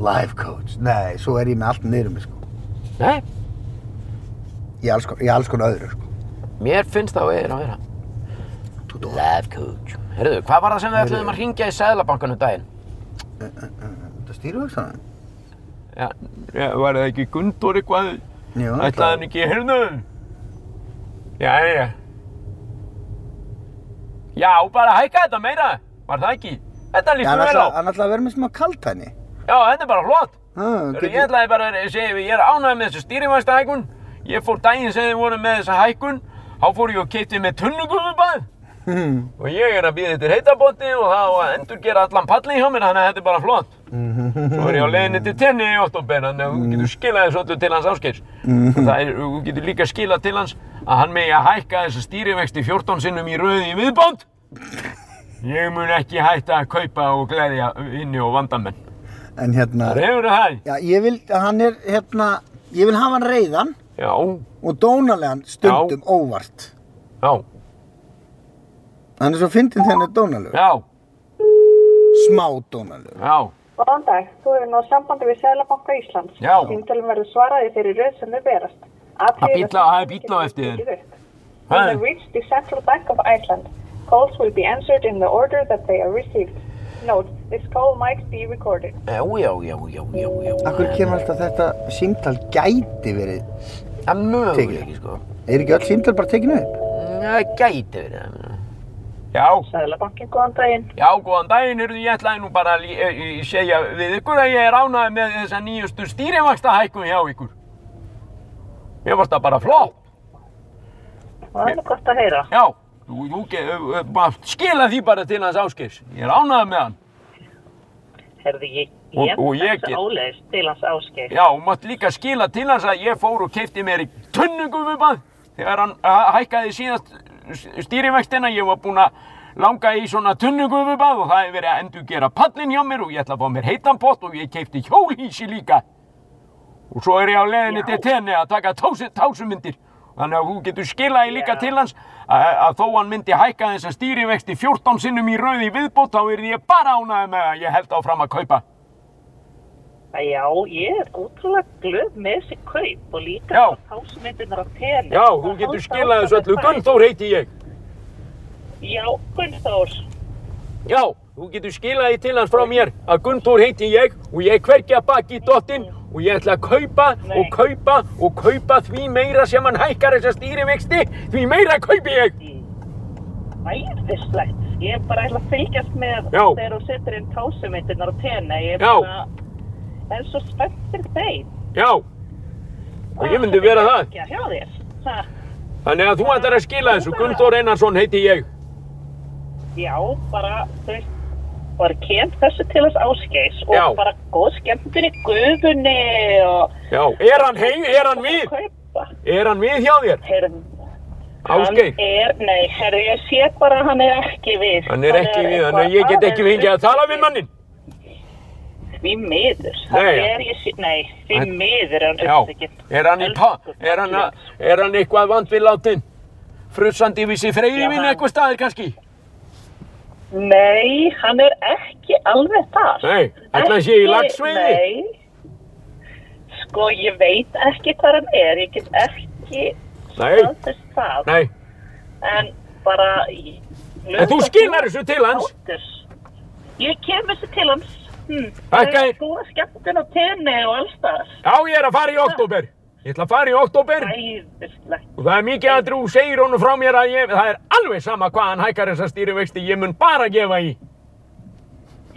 B: Life coach Nei, svo er ég með allt niður um mig sko
A: Nei,
B: Ég alls, kon- ég alls konar öðru sko
A: mér finnst það þú eigir að vera. Life coach. Herruðu, hvað var það sem við ætluðum að ringja í Sæðlabankanum daginn?
B: Eh, Þetta stýru vext hann
A: Já, já, var það ekki Gundur eitthvað?
B: Jú,
A: ekki, herruðu? Já, já. Já, bara hækka þetta meira. Var það ekki? Þetta
B: Já, hann ætla, hann ætla að vera með smá kaltæni
A: Já, þetta er bara flott.
B: Ah,
A: Heyrðu,
B: getur-
A: Ég ætlaði bara að segja við, ég er ánægð með þessu stýrivæsta hækkun. Ég fór daginn sem þið voru með þessa hækkun. Þá fór ég og keipti með tunnugufubað.
B: Mhm,
A: Og ég er að býða þetta heitabóti og það á að endur gera allan pallin hjá mér, þannig að þetta er bara flott.
B: mhm.
A: Svo er ég á leiðinni til tenni í oktober, þannig
B: Mm.
A: að þú getur skilað þessu öllu til hans áskeirs. Og það er, þú getur líka skilað til hans að hann megi að hækka þessa stýrivexti 14 sinnum í röði í viðbónd. Ég mun ekki hætta að kaupa og gleðja inni og vandamenn.
B: En hérna
A: Það hefur það.
B: Já, ég vil, hann er hérna Ég vil hafa hann reyðan
A: Já,
B: og dónalegan stundum óvart
A: já,
B: Hann er svo fyndinn þegar hann er dónalegur
A: já,
B: Smá dónalegur
A: já.
D: Góðan dag, þú hefur náð sambandi við Sælabanka Íslands.
A: Já.
D: Þingdalum verður svaraði fyrir röð sem þau berast.
A: Það
D: Athugið
A: bíll á-
D: að
A: það er bíll á eftir þér.
D: tekið upp.
A: Ha?
D: You have reached the Central Bank of Iceland. Calls will be answered in the order that they are received. Note, this call might be recorded.
A: Já, já, já, já, já, já.
B: Akkur kemur alltaf þetta símtal gæti verið
A: Það er möguleiki,
B: Tekið.
A: sko.
B: Er ekki öll símtal bara tekinu upp?
A: Það gæti verið það. Já,
D: Sælabankin, góðan daginn.
A: já, góðan daginn, heyrðu, ég ætlaði nú bara að lí- eh, eh, segja við ykkur að ég er ánægð með þessa nýjustu stýrivaxta hækkun hjá ykkur. Mér varst það bara flott.
D: Það er nú gott að heyra.
A: Já, þú, þú, ge- ö- ö, maður skila því bara til hans áskeirs. Ég er ánægð með hann.
D: Herði, ég,
A: Og- ég og ég þessu get-
D: áleis til hans áskeið.
A: Já, og mátt líka skila til hans að ég fór og keipti mér í tunnugumubað þegar hann eh, hækkaði síðast stýrivextina, ég var búinn að langa í svona tunnugumubað og það hefur verið að endur gera pallin hjá mér og ég ætla að fá mér heitan pott og ég keipti hjólhísi líka og svo er ég á leiðinni til tenni að taka tásu, tásumindir þannig að þú getur skilaði líka
D: Já.
A: til hans að, að þó hann myndi hækka þessa stýrivexti 14 sinnum í rauði viðbót þá er ég bara ánægð með að ég held áfram að kaupa
D: Já, ég er ótrúlega glöð með þessi kaup og líka
A: Já.
D: pásmyndunar á tenu.
A: Já, þú getur skilað þessu öllu. Gunnþór heiti ég.
D: Já, Gunnþór.
A: Já, þú getur skilaði til hans frá mér að Gundur heiti ég og ég er hvergi að baki í dottinn og ég ætla að kaupa og
D: Nei.
A: kaupa og kaupa því meira sem hann hækkar þessa stýrivexti, því meira kaupi ég.
D: Æðislegt. Ég er bara ætla að fylgjast með
A: Já.
D: þegar þú setur inn tásumindirnar á tena. Ég er
A: Já.
D: bara, en svo spennt fyrir þeim.
A: Já, og ég myndi vera það.
D: Já, hjá þér. Ha,
A: Þannig að þú ætlar að skila þessu, Gundur Einarsson heiti ég.
D: já, bara, þú veist, bara kent þessu til þess áskeis og
A: Já.
D: bara góð skemmtun í gufunni og...
A: Já, er hann heim, er hann við?
D: Kaupa.
A: Er hann við hjá þér?
D: Heyrðu,
A: Ásgeir?
D: Hann er, nei, herru, ég sé bara að hann er ekki við.
A: Hann er ekki við, þannig að ég get ekki fengið að tala við mannin.
D: Því miður.
A: Nei.
D: Nei. Er ég, sé- nei, því
A: Hann-
D: miður er hann
A: Já, er hann í pa, er hann, að- er hann eitthvað vant við látin? Frussandi við sér freyri
D: Já,
A: minn
D: hann-
A: eitthvað staðir kannski?
D: Nei, hann er ekki alveg þar.
A: Nei, ætli hann sé í
D: Ekki-
A: laxveiði?
D: Nei, sko, ég veit ekki hvað hann er, ég get ekki
A: Nei.
D: staðfest það.
A: Nei,
D: En bara...
A: en þú skilar þessu til hans.
D: Óttur. Ég kem þessu til hans. Hm.
A: Þakka
D: Það er
A: þér.
D: Góða skemmtun á tenni og allstaðar.
A: Já, ég er að fara í oktober. Ég ætla að fara í oktober
D: Æðislegt.
A: og það er mikið að þú segir honum frá mér að ég, það er alveg sama hvað hann hækkar þessa stýrivexti, ég mun bara gefa í.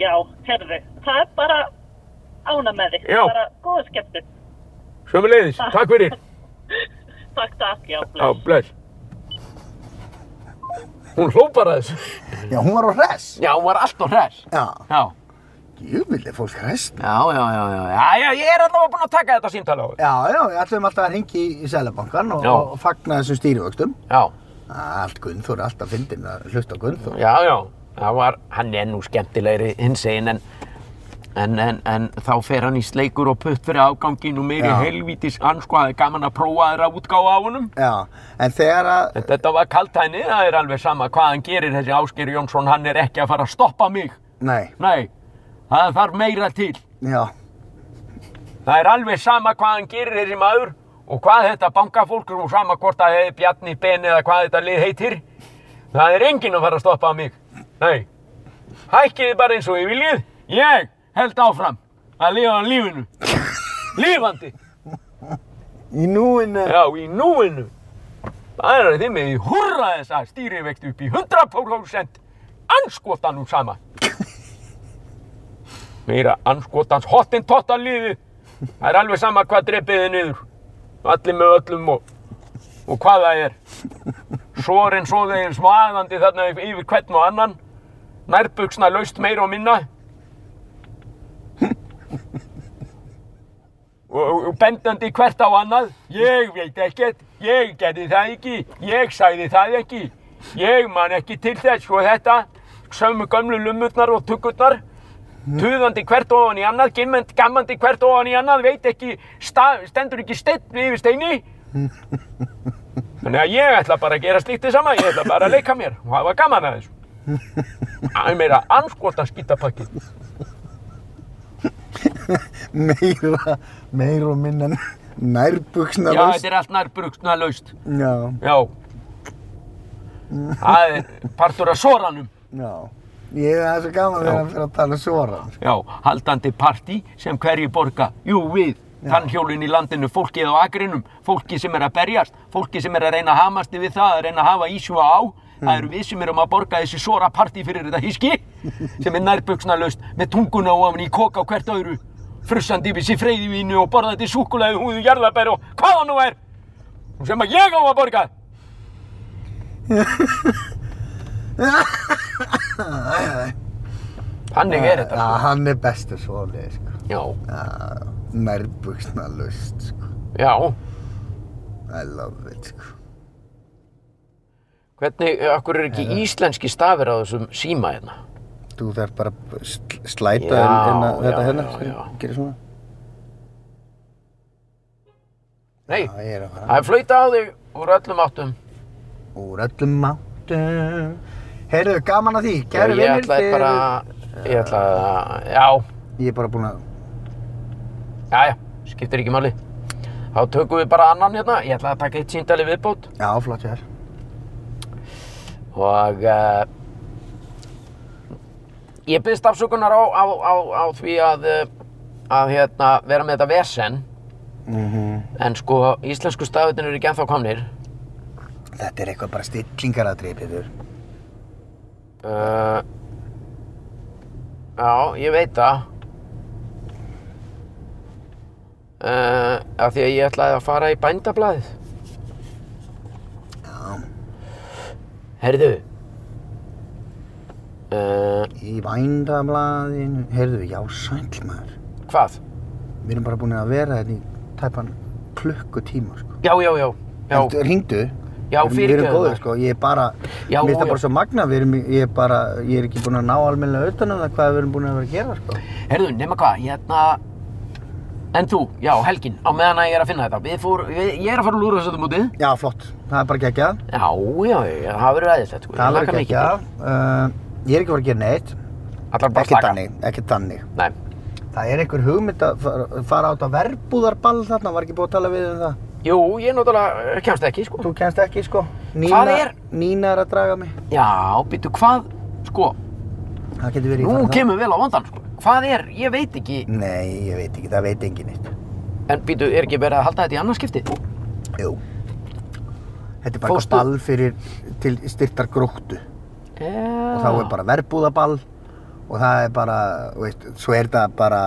D: Já, herðu. Það er bara ána með þig.
A: Já.
D: Bara góða skemmtun.
A: Sömuleiðis, takk fyrir.
D: Takk, takk, já, bless.
A: Já, bless. Hún hló bara að þessu.
B: Já, hún var á hress.
A: Já, hún var alltaf hress.
B: Já.
A: Já,
B: Júbilið fólk hress.
A: já, já, já, já, já, já, ég er allavega búinn að taka þetta símtala á þér.
B: Já, já, við ætlum alltaf að ringi í Sælabankan og,
A: Já.
B: og fagna þessum stýrivöxtum.
A: Já.
B: Allt Gunnþór, alltaf fyndin að hlusta á Gunnþór.
A: Já, já, það var, hann er nú skemmtilegri hins einn en, en, en, en þá fer hann í sleikur og putt fyrir afgangin og meiri
B: Já.
A: helvítis hans sko, það er gaman að prófa þeirra útgáfa á honum.
B: Já, en þegar að,
A: En þetta var kaltæni, það er alveg sama hvað hann gerir þessi Ásgeir Jónsson, hann er ekki að fara að stoppa mig.
B: nei,
A: Nei, það þarf meira til.
B: já,
A: Það er alveg sama hvað hann gerir þessi maður og hvað þetta bankafólk og sama hvort að hefði Bjarni Ben eða hvað þetta lið heitir. Það er enginn að fara að stoppa mig. Nei, hækkiði bara eins og ég viljið. Ég held áfram að lifa á lífinu. Lífandi.
B: í núinu.
A: Já, í núinu. Það er að þið með í hurra þessa stýrivekt upp í 100% anskotan úr sama. Meira anskotans hottin tottan liði. Það er alveg sama hvað drepiði niður. Allir með öllum og, og hvað það er. Svorin svoðegin smaðandi þarna yfir hvern og annan. Nærbuksna laust meira og minna. og, og, og bendandi hvert á annað ég veit ekkert, ég gerði það ekki ég sagði það ekki ég man ekki til þess og þetta sömu gömlu lumurnar og tugurnar tuðandi hvert ofan í annað gimmend, gammandi hvert ofan í annað veit ekki, sta, stendur ekki steinn yfir steini þannig að ég ætla bara að gera slíkt þið sama ég ætla bara að leika mér og hafa gaman að þessu Það er meira anskotan skítapakki
B: Meira, meira og minna nærbuksna
A: Já, þetta er allt nær brugsna laust
B: Já,
A: Já Það er partur af soranum
B: já. Ég það er svo gaman þegar
A: Já.
B: hann fyrir að tala um svora.
A: Já, haldandi partí sem hverju borga Jú við, tannhjólin í landinu Fólkið á akrinum, fólkið sem er að berjast Fólkið sem er að reyna að hamast við það Að reyna að hafa ísjúa á Það eru við sem erum að borga þessi sora partí fyrir þetta híski Sem er nærbuksna laust Með tunguna og ofan í koka á hvert öðru Frussandi yfir sér freyðivínu Og borðandi súkulega húðu jarðabær Og hvað það nú er Sem að ég á að borga Þannig er
B: Já,
A: þetta
B: hann er bestur svoleið, sko.
A: Já,
B: Já, nærbuksna lust, sko.
A: já
B: I love it, sko.
A: Hvernig, akkur er ekki íslenski stafir á þessum síma hérna?
B: Þú þarf bara að sl- slæta
A: Já,
B: já, hérna,
A: já,
B: þetta hérna,
A: já,
B: sem
A: já.
B: gerir svona.
A: Nei,
B: Já, ég er að fara.
A: það er flauta á þig úr öllum áttum.
B: Úr öllum máttum. Heyrðu, gaman að því, kæru
A: ég
B: vinnir,
A: ætlaði bara, ég ætlaði að, já,
B: Ég er bara búinn að,
A: já, já, skiptir ekki máli. Þá tökum við bara annan hérna, ég ætlaði að taka eitt síndali viðbót.
B: já, flott ég er.
A: og uh, ég byrst afsökunar á, á, á, á því að, eh, að hérna, vera með þetta vesen en sko íslensku stafutin eru ekki ennþá komnir
B: Þetta er eitthvað bara stillingaradrið, Pétur.
A: uh, já, ég veit það uh, af því að ég ætlaði að fara í bændablaðið
B: Já,
A: herðu uh,
B: í vændablaðinu. Heyrðu, já, sæll maður.
A: hvað?
B: Við erum bara búin að vera þetta í tæpan klukkutíma, sko.
A: já, já, já já,
B: Ringdu.
A: já
B: Við erum
A: fyrirgefðu
B: góður,
A: maður.
B: sko. Ég er bara,
A: Já,
B: mér finnst
A: já.
B: það bara svo magna. Við erum, ég er bara, ég er ekki búin að ná almennilega utan um það hvað við erum búin að vera að gera, sko.
A: Herðu, nema hvað, hérna En þú, já, helgin, á meðan að ég er að finna þetta Við fór, við, ég er að fara að lúra þessu þetta mútið
B: Já, flott. Það er bara geggjað.
A: Já, já, já, það verður aðeins þetta sko. Ég
B: Það er
A: hlakka
B: bara
A: mikið
B: geggjað. Uh, Ég er ekki að fara að gera neitt.
A: til. Allar bara
B: Ekki
A: slaka
B: þannig, ekki þannig.
A: Nei,
B: Það er einhver hugmynd að fara- fara átt á verbúðarball þarna, var ekki búið að tala við um það?
A: jú, ég náttúrulega eh, kemst ekki, sko
B: Þú kennst ekki sko
A: Hvað er?
B: Nína er að draga mig
A: Já, býttu, hvað, sko
B: Það getur verið í
A: Nú
B: fara
A: kemur vel á vandan, sko Hvað er, ég veit ekki
B: það Nei, ég veit ekki, það veit enginn eitt
A: En býttu, er ekki verið að halda þetta í annarskipti?
B: Jú Þetta er bara
A: Fórstu?
B: eitthvað ball fyrir til styrtar gróttu
A: Já
B: og þá
A: Ah.
B: er bara verbúðaball og það er bara, þú veist, svo er það bara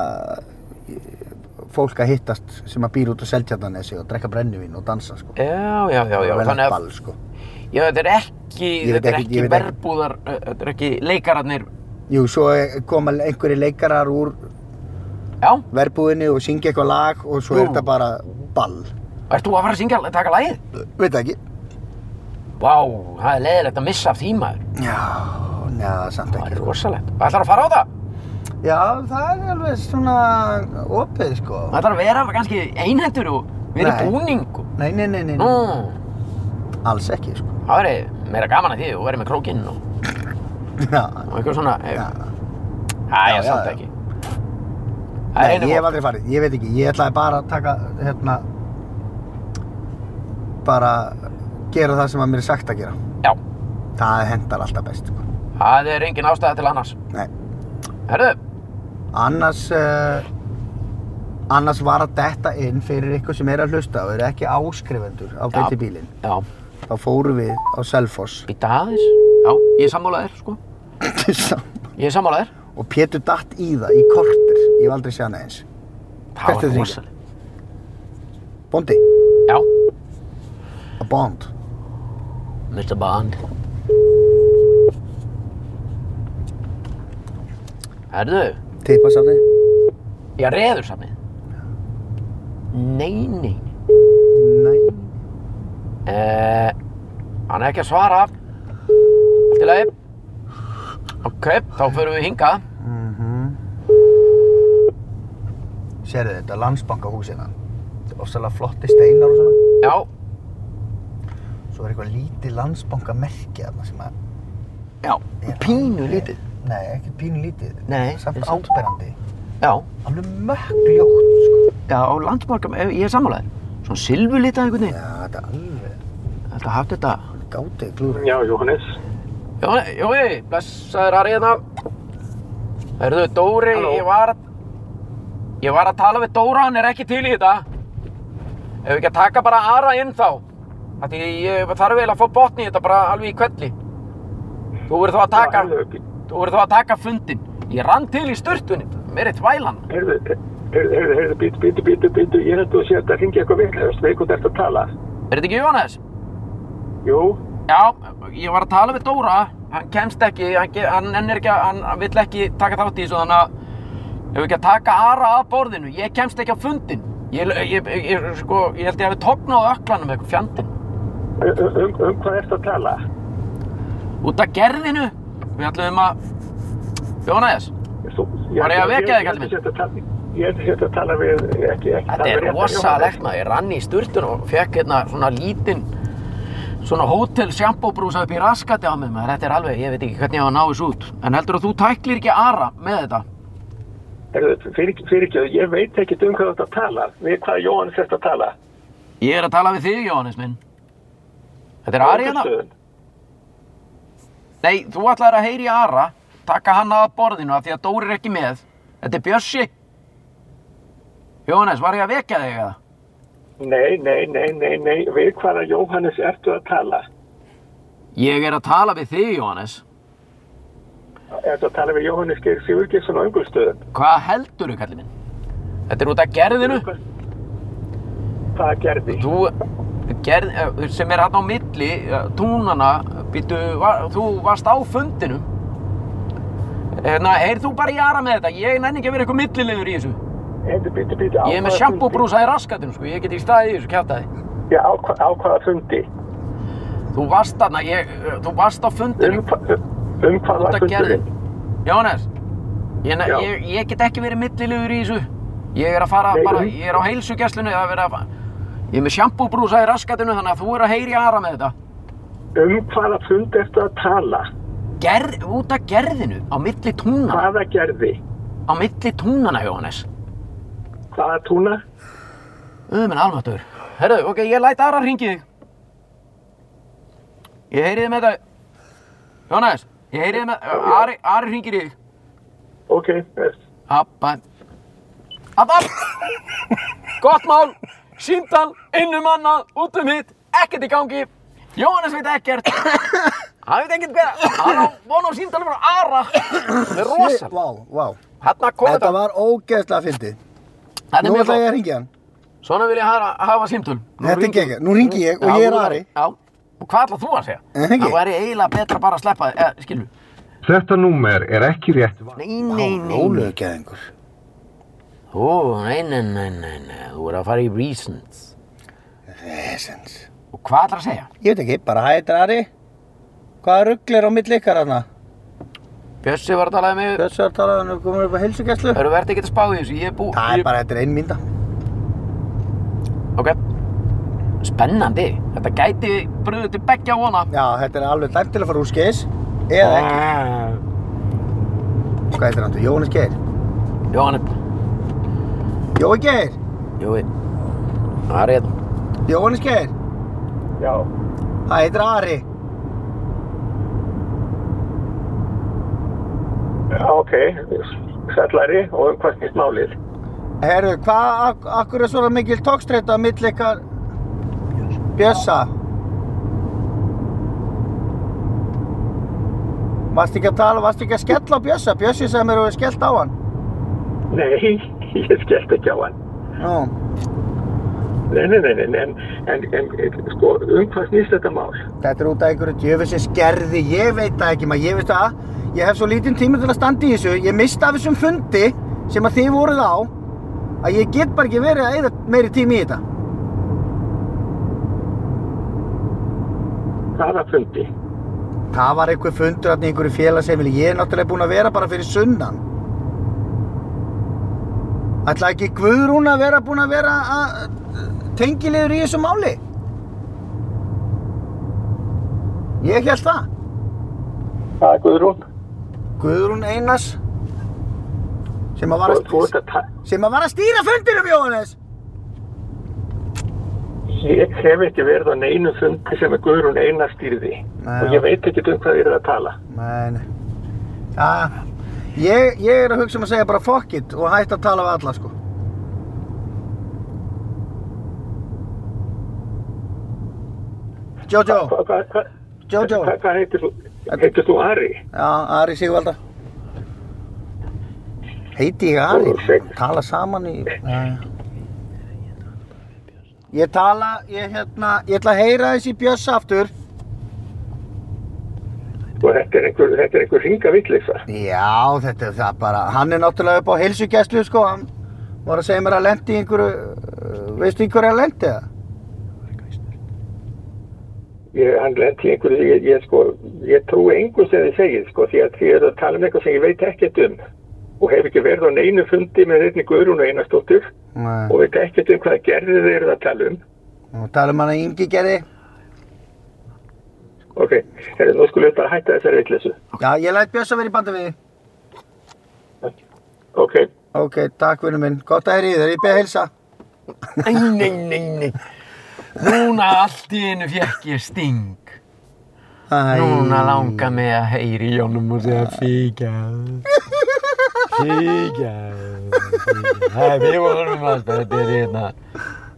B: fólk að hittast sem að býr út á Seltjarnanesi og drekka brennivín og dansa sko
A: Já, Eh, já, já, já,
B: Það er
A: þannig að
B: ball sko
A: Já, þetta er ekki,
B: Ég veit
A: þetta er
B: ekki-
A: ekki
B: ég veit ekki.
A: verbúðar eh, Þetta er ekki leikararnir
B: Jú, svo er- koma einhverjir leikarar úr
A: Já,
B: verbúðinni og syngja eitthvað lag og svo er
A: Jú.
B: þetta bara ball
A: ert þú að fara að syngja, taka lagið?
B: Veit það ekki
A: Vá, það er leiðilegt að missa af því maður.
B: Já, neða, samt
A: Það
B: ekki. sko.
A: er rosalegt. Það ætlar að fara á það.
B: Já, það er alveg svona opið, sko.
A: Það ætlar að vera kannski einhendur og vera í
B: Nei.
A: búning. og-
B: Nei, nei, nei, nei,
A: Nú,
B: nei. alls ekki, sko.
A: það verið meira gaman að því og verið með krókinn og,
B: Já,
A: og eitthvað svona. eh,
B: já.
A: Það
B: Já,
A: er samt
B: já, já.
A: ekki. Það er
B: Nei,
A: einu
B: ég hef
A: gott.
B: aldrei farið, ég veit ekki, ég ætlaði bara að taka, hérna, bara gera það sem að mér er sagt að gera.
A: Já,
B: Það hendar alltaf best, sko.
A: það er engin ástæða til annars.
B: Nei,
A: Herðu,
B: annars, uh, annars var að detta inn fyrir ykkur sem er að hlusta og eru ekki áskrifendur á
A: Já.
B: beinti bílinn.
A: já,
B: Þá fórum við á Selfoss.
A: býta aðeins. Já, ég er sammálaðir, sko. Ég er sammálaðir.
B: og Pétur datt í það í kortir, ég hef aldrei séð hann eins.
A: Það
B: Hvert er
A: var
B: þið
A: rosalegt.
B: Bondi,
A: Já,
B: a bond.
A: Mr. Bond. Herðu,
B: Tippa sá þig?
A: Já, reðursamnið. Nei, nei.
B: Nei.
A: Uh, hann er ekki að svara. Allt í lagi. Ok, þá förum við hingað.
B: Mm Sérðu þetta, landsbankahúsina. Þetta er ofsalega flotti steinar og svona.
A: Já,
B: Svo er eitthvað lítið landsbankamerki þarna sem að...
A: já, pínu lítið.
B: Nei, ekkert pínu lítið.
A: Nei,
B: Samt
A: en samt.
B: áberandi.
A: Já,
B: Alveg mökkljótt, sko.
A: já, landsmarkam, ég er sammálaður. Svona silfurlitað einhvern veginn.
B: Já, þetta er alveg
A: Þetta haft þetta.
B: gátið glúður.
C: Já, Jóhannes.
A: Jó, jó, blessaður Ari hérna. Herðu, Dóri,
C: Halló.
A: ég var að... Ég var að tala við Dóra, hann er ekki til í þetta. Ef við ekki að taka bara Ara inn þá. Af Því ég þarf eiginlega að fá botni í þetta bara alveg í kvelli. Þú verður þá að taka, þú verður þá að taka fundin. Ég rann til í sturtunni, mér er þvælan.
C: Heyrðu, heyrðu, heyrðu, heyrðu, bítu, bítu, bítu, bítu, ég held að þú sért að ringja eitthvað vitlegast, við eitthvað ert að tala.
A: Er þetta ekki Jónas?
C: Jú,
A: Já, ég var að tala við Dóra, hann kemst ekki, hann, ge- hann ennir ekki, að- hann vill ekki taka þátt í þessu, þannig að ef við ekki að taka Ara að borðinu, ég kemst ekki á fundin. Ég, ég, ég, ég, sko, ég held ég hafi tognað á öklanum eitthvað fjandinn.
C: um, um, um hvað ert að tala?
A: Út af gerðinu, við ætlum að, Jónas,
C: Þú,
A: Var ég að vekja þig, kallinn minn?
C: Ég held að þú sért að tala- ég held að þú sért að tala við, ekki, ekki
A: þetta er
C: tala við réttan
A: rosalegt maður, ég rann í sturtun og fekk hérna svona lítinn, svona hótel sjampóbrúsa upp í raskati á mig maður, þetta er alveg, ég veit ekki hvernig ég á að ná þessu út. En heldur að þú tæklir ekki Ara með þetta?
C: Heyrðu, fyrir, fyrir ekki, ég veit ekki um hvað þú ert að tala, við hvað Jóhannes ert að tala.
A: Ég er að tala við þig, Jóhannes minn. Þetta er Ari hérna.
C: Ágúststöðum.
A: Nei, þú ætlaðir að heyri Ara, taka hann að borðinu af því að Dóri er ekki með. Þetta er Bjössi. Jóhannes, var ég að vekja þig eða?
C: Nei, nei, nei, nei, nei, við hvaða Jóhannes ertu að tala?
A: Ég er að tala við þig, Jóhannes.
C: Ertu að tala við Jóhannes Geir Sigurgesson á Öngulstöðum?
A: Hvað heldur þú, kalli minn? Þetta er út af gerðinu.
C: Hvað gerði?
A: Þú, gerð, eh, sem er hann á milli, eh, túnana, býtu, var, þú varst á fundinum. Hérna, heyrð þú bara í Ara með þetta? Ég nenni ekki að vera eitthvað millilegur í þessu.
C: Heiðu, bíti, bíti,
A: Ég er með sjampóbrúsa í raskatinn, sko. Ég get ekki staðið í þessu kjátaði.
C: Já, á, hva- á hvaða fundi? Um
A: Þú varst þarna, ég, eh, þú varst á fundinu.
C: Um, hva- um hvað var
A: Út af
C: fundurinn?
A: Jóhannes, ég, ne-
C: Já.
A: ég, ég get ekki verið millilegur í þessu. Ég er að fara
C: Nei,
A: bara,
C: um-
A: ég er á heilsugesslunni, það er verið að fara. Ég er með sjampóbrúsa í raskatinu þannig að þú er að heyri aðra með þetta.
C: Um hvaða fund ertu að tala?
A: Gerð, út af gerðinu, á milli túnana,
C: Hvaða gerði?
A: á milli túnana, Jóhannes.
C: Hvaða túna?
A: Öðu minn almatur. Herðu, ok, ég læt aðra hringi þig. Ég heyri þig með þetta. Jóhannes, ég heyri þig með, Ari, Ari hringir í þig.
C: Ok, yes.
A: Abba Abba Gott mál Sýndal, innum annað, út um hitt Ekkert í gangi Jóhannes veit ekkert Hann veit ekkert hvað Hann á von á síndalum frá Ara Það er rosal
B: Vá, vá.
A: Hanna kom
B: Þetta
A: þetta
B: var ógeðslega fyndið.
A: Þetta er
B: Nú
A: mjög
B: ætla ég að
A: gott
B: ringja hann.
A: Svona vil ég hafa, hafa símtöl Nú
B: Þetta er
A: hringi-
B: geggjað. Nú hringi ég og
A: Já,
B: ég er
A: þú-
B: Ari. Eh,
A: Já Og hvað ætlað þú að segja?
B: Er það ekki?
A: Það væri eiginlega betra bara að sleppa þig eh, Skilju
E: Þetta númer er ekki rétt val.
A: Nei, nei, nei
B: Rólegur geðingur.
A: Ó, nei, nei, nei, nei, nei Þú er að fara í reasons
B: Resens.
A: Og hvað ætlar að segja?
B: Ég veit ekki, bara hæ, þetta er Ari. Hvaða rugl er á milli ykkar hana?
A: Bjössi var að tala um mig
B: Þessu að tala hann og komur upp á heilsugæslu.
A: Það eru verið ekki að spá í þessu, ég er bú...
B: Það
A: ég...
B: er bara, þetta er ein mínda.
A: Ok. Spennandi. Þetta gæti bröðu til beggja vona.
B: Já, þetta er alveg dæmt til að fara úr skeiðis.
A: Ah.
B: Eða ekki. Hvað heitir hann? Jóhannes Geir?
A: Jóhann,
B: Jói Geir?
A: Jói. Það er hérna.
B: Jóhannes Geir?
C: Já.
B: Það heitir Ari.
C: Já, Ok, sætlari og um hvað snýst málið?
B: Herru, hvað, ak- akkur er svona mikil tókstreita á milli ykkar Bjössa? Varst ekki að tala, varst ekki að skella á Bjössa? Bjössi sem eru skellt á hann.
C: Nei, ég skellt ekki á hann.
B: Nú,
C: Nei, nei, nei, nei, nei, en, en, en sko, um hvað snýst þetta mál?
B: þetta er út af einhverju djöfissi skerði, ég veit það ekki maður, ég veist það. Ég hef svo lítinn tíma til að standa í þessu, ég mista af þessum fundi sem að þið voruð á að ég get bara ekki verið að eyða meiri tími í þetta.
C: Hvaða fundi?
B: Það var einhver fundur þarna í einhverju félagsheimili. Ég er náttúrulega búinn að vera bara fyrir sunnan. Ætla ekki Guðrún að vera búinn að vera að tengilegur í þessu máli? Ég held það.
C: Hvað er Guðrún?
B: Guðrún Einars sem að var
C: Þú
B: að,
C: þú ert að tala,
B: sem að, var að stýra fundinum, Jóhannes.
C: ég hef ekki verið á neinu fundi sem er Guðrún eina stýrði
B: Nei,
C: og
B: já.
C: ég veit ekki um hvað þið eru að tala.
B: Nei, nei. Já, ég, ég er að hugsa um að segja bara fuck it og hætta að tala við alla, sko. Jojo,
C: Hva- hva- hva-
B: Jojo.
C: hva- Hvað heitir þú? Heitir þú Ari?
B: Já, Ari Sigvalda. Heiti ég Ari?
C: Ó, shit.
B: Tala saman í... Já, já. Ég tala, ég hérna, ég ætla að heyra þessi Bjöss aftur.
C: Og þetta er einhver, þetta er einhver ringa vitleisa.
B: Já, þetta er það bara, hann er náttúrulega upp á heilsugæslu sko, hann var að segja mér að lendi í einhverju, uh, veistu einhverju að lendi það?
C: Ég, hann lenti í einhverju, ég, ég sko, ég trúi einhver sem þið segið, sko, því að þið eru að tala um eitthvað sem ég veit ekkert um og hef ekki verið á neinu fundi með einni Guðrún einastóttur
B: Nei,
C: og veit ekkert um hvað gerði þið eru að tala um.
B: og tala um hann að yngi gerði.
C: Ok, herri, nú skulum við bara hætta þessari vitleysu.
B: Já, ég læt Björs að vera í bandi við þig.
C: Ok,
B: Ok, takk vinnu minn, gott að heyri þér, ég beð að heilsa.
A: Nei, nei, nei, nei. Núna allt í einu fekk ég sting.
B: Æ.
A: Núna langar mig að heyri í honum og segja fíkja. Fíkja. Það er við vorum að þetta er hérna.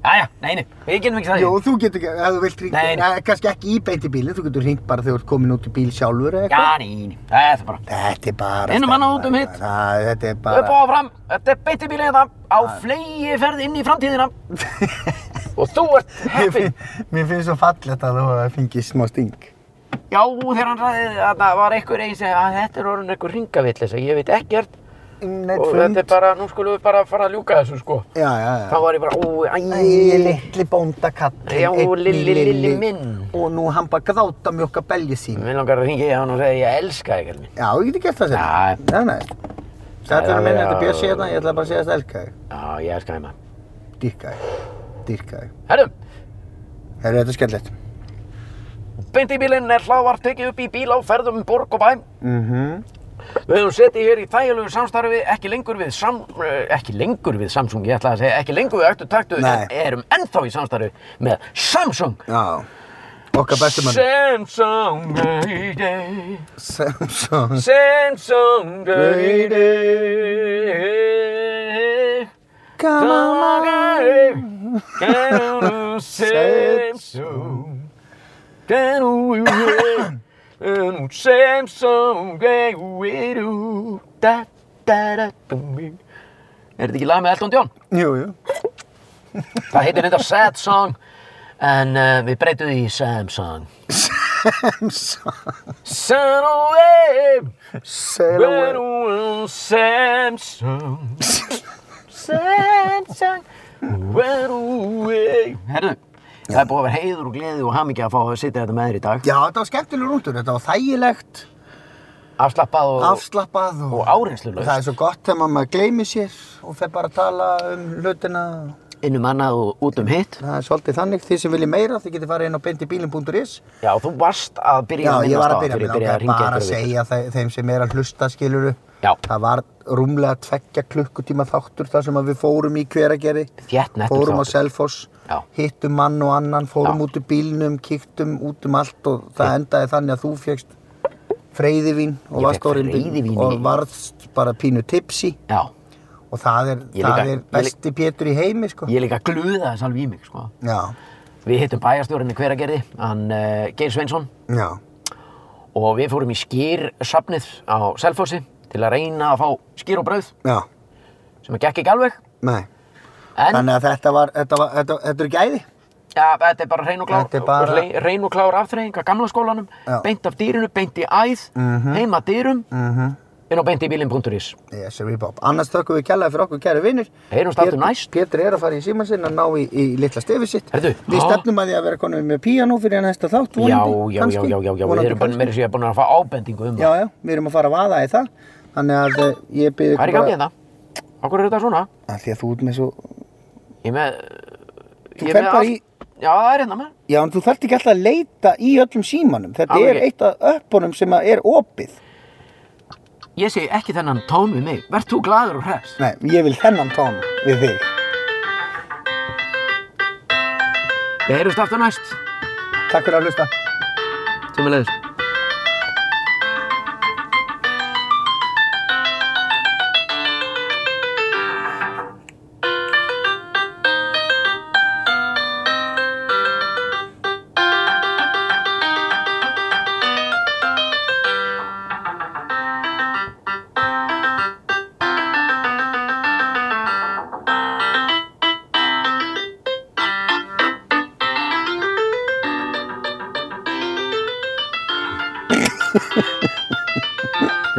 A: Jæja, nei, nei, við getum ekki það.
B: Jó, þú getur ekki, ef þú vilt ringja,
A: Nei, nei.
B: Nei, kannski ekki í beint í bílinn, þú getur ringt bara þegar þú ert komin út í bíl sjálfur eða
A: hérna. Já,
B: eitthvað.
A: nei, nei, það er það bara.
B: Þetta er bara...
A: Innum hana, út um hitt.
B: Það, þetta er
A: Upp
B: bara...
A: og áfram, þetta er beinti bílið þetta á flegi ferð inn í framtíðina. og þú ert
B: Mér
A: heppinn.
B: finn- Mér finnst svo fallegt að þú hafa fengið smá sting.
A: Já, þegar hann ræði þetta var einhver einn sem að þetta er orðin einhver ringavillisa, ég veit ekkert
B: Neitt
A: og þetta er bara, nú skulum við bara fara að ljúka þessu sko.
B: Já, já, já.
A: Þá var ég bara, ó,
B: Æ,
A: æ,
B: litli bóndakallin,
A: Já,
B: einni
A: Lilli, Lilli minn.
B: Og nú hann bara gráta mjölka belgi sín.
A: Mér langar að ringja í hann og segja ég elska þig, Elmi.
B: Já, ég geti gert það sér.
A: Já.
B: Já, nei. Þetta er að minna,
A: Já,
B: þetta er
A: já.
B: Björns hérna, ég ætla bara að segja þetta elka þig.
A: Já, ég elska þig maður.
B: Dýrka þig. Dýrka þig.
A: Herru,
B: Herru, þetta er skemmtilegt.
A: beint í bílinn er hlávar tekið upp í bíl á ferðum um borg og bæ.
B: Mhm.
A: Við höfum setið hér í þægilegu samstarfi, ekki lengur við, sam, eh, ekki lengur við Samsung, ég ætla að segja, ekki lengur við öktu taktu,
B: Nei.
A: en erum ennþá í samstarfi með Samsung.
B: Já. Okkar bestu mann.
A: Samsung Mayday.
B: Samson.
A: Samsung Mayday.
B: Come on, my
A: Samsung Mayday. Samsung Mayday. Samsung Mayday. Da, da, da, dum, dum. Er þetta ekki lag með Elton John?
B: Jú, jú.
A: Það heitir þetta Sad Song en uh, við breytum því í Samsung
B: Samson.
A: Sun away,
B: Sail
A: burn
B: away.
A: away, Samsung Samsung, burn away Herru, það er búið að vera heiður og gleði og hamingja að fá að sitja þetta með þér í dag
B: Já, þetta var skemmtilegur rúndur. Þetta var þægilegt,
A: Afslappað og
B: afslappað og...
A: Og áreynslulaust.
B: Það er svo gott þegar maður gleymir sér og fer bara að tala um hlutina.
A: innum annað og út um hitt
B: Það er svolítið þannig. Þið sem viljið meira, þið getið farið inn á bindibílin.is.
A: Já, þú varst að
B: Já,
A: byrja að
B: ég
A: minnast á
B: var að
A: þegar ég
B: byrja að byrja
A: byrjaði að
B: að
A: ringja
B: bara að segja þe- þeim sem er að hlusta skiluru.
A: Já.
B: Það var rúmlega tveggja klukkutíma þáttur þar sem að við fórum í hveragerði.
A: Þétt nettur
B: Fórum á
A: þáttur.
B: Selfoss,
A: Já.
B: hittum mann og annan, fórum
A: Já.
B: út úr bílnum, kíktum út um allt og það endaði þannig að þú fegst freyðivín og
A: Ég fékk
B: varst orðin
A: freyðivín
B: og
A: í-
B: varst bara pínu tipsi
A: Já,
B: og það er,
A: Ég
B: það
A: líka-
B: er
A: ég lí-
B: besti pétur í heimi sko.
A: ég líka gluða þess alveg í mig sko.
B: Já,
A: Við hittum bæjarstjórinni hveragerði, hann uh, Geir Sveinsson
B: já,
A: og við fórum í skýrsafnið á Selfossi til að reyna að fá skýr og brauð
B: já,
A: sem gekk ekki alveg
B: nei.
A: en
B: Þannig að þetta var, þetta var, þetta, þetta er gæði.
A: ja, þetta er bara reyn og
B: Þetta
A: klár
B: er bara-
A: hlei- reyn og klár afþreying að gamla skólanum
B: Já. Mhm.
A: beint af dýrinu, beint í æð heima að dýrum
B: Mm
A: inn á beint í bílinn.is
B: Yes, Reebop. Annars þökkum við kjallaði fyrir okkur kæri vinnir.
A: Heyrumst aftur næst.
B: Pétur er að fara í síman sinn að ná í, í litla stefið sitt.
A: Heyrðu,
B: Við
A: ha?
B: stefnum að því að vera konum með píanó fyrir næsta þátt,
A: já,
B: vonandi,
A: já, já, já, já, já, við
B: Vonandi
A: erum bara
B: kannski.
A: meira sér búin að fá ábendingu um
B: Já, já, við erum að fara að vaða í það. Þannig að eh, ég
A: það
B: byrði
A: hvað er í gangi hérna? þetta? Akkur er þetta svona?
B: Því að þú ert með svo...
A: Ég er með
B: Þú
A: ég er
B: ferð
A: með
B: bara
A: allt-
B: í-
A: Já, það er hérna með
B: Já, en þú þarft ekki alltaf að leita í öllum símanum. Þetta
A: Alveg
B: er
A: ekki.
B: eitt af öppunum sem að er opið.
A: Ég segi ekki þennan tón við mig Vert þú glaður og hress?
B: Nei, ég vil þennan tón við þig.
A: Við heyrumst aftur næst
B: Takk fyrir að hlusta.
A: Sömulegis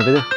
A: Nei, byrju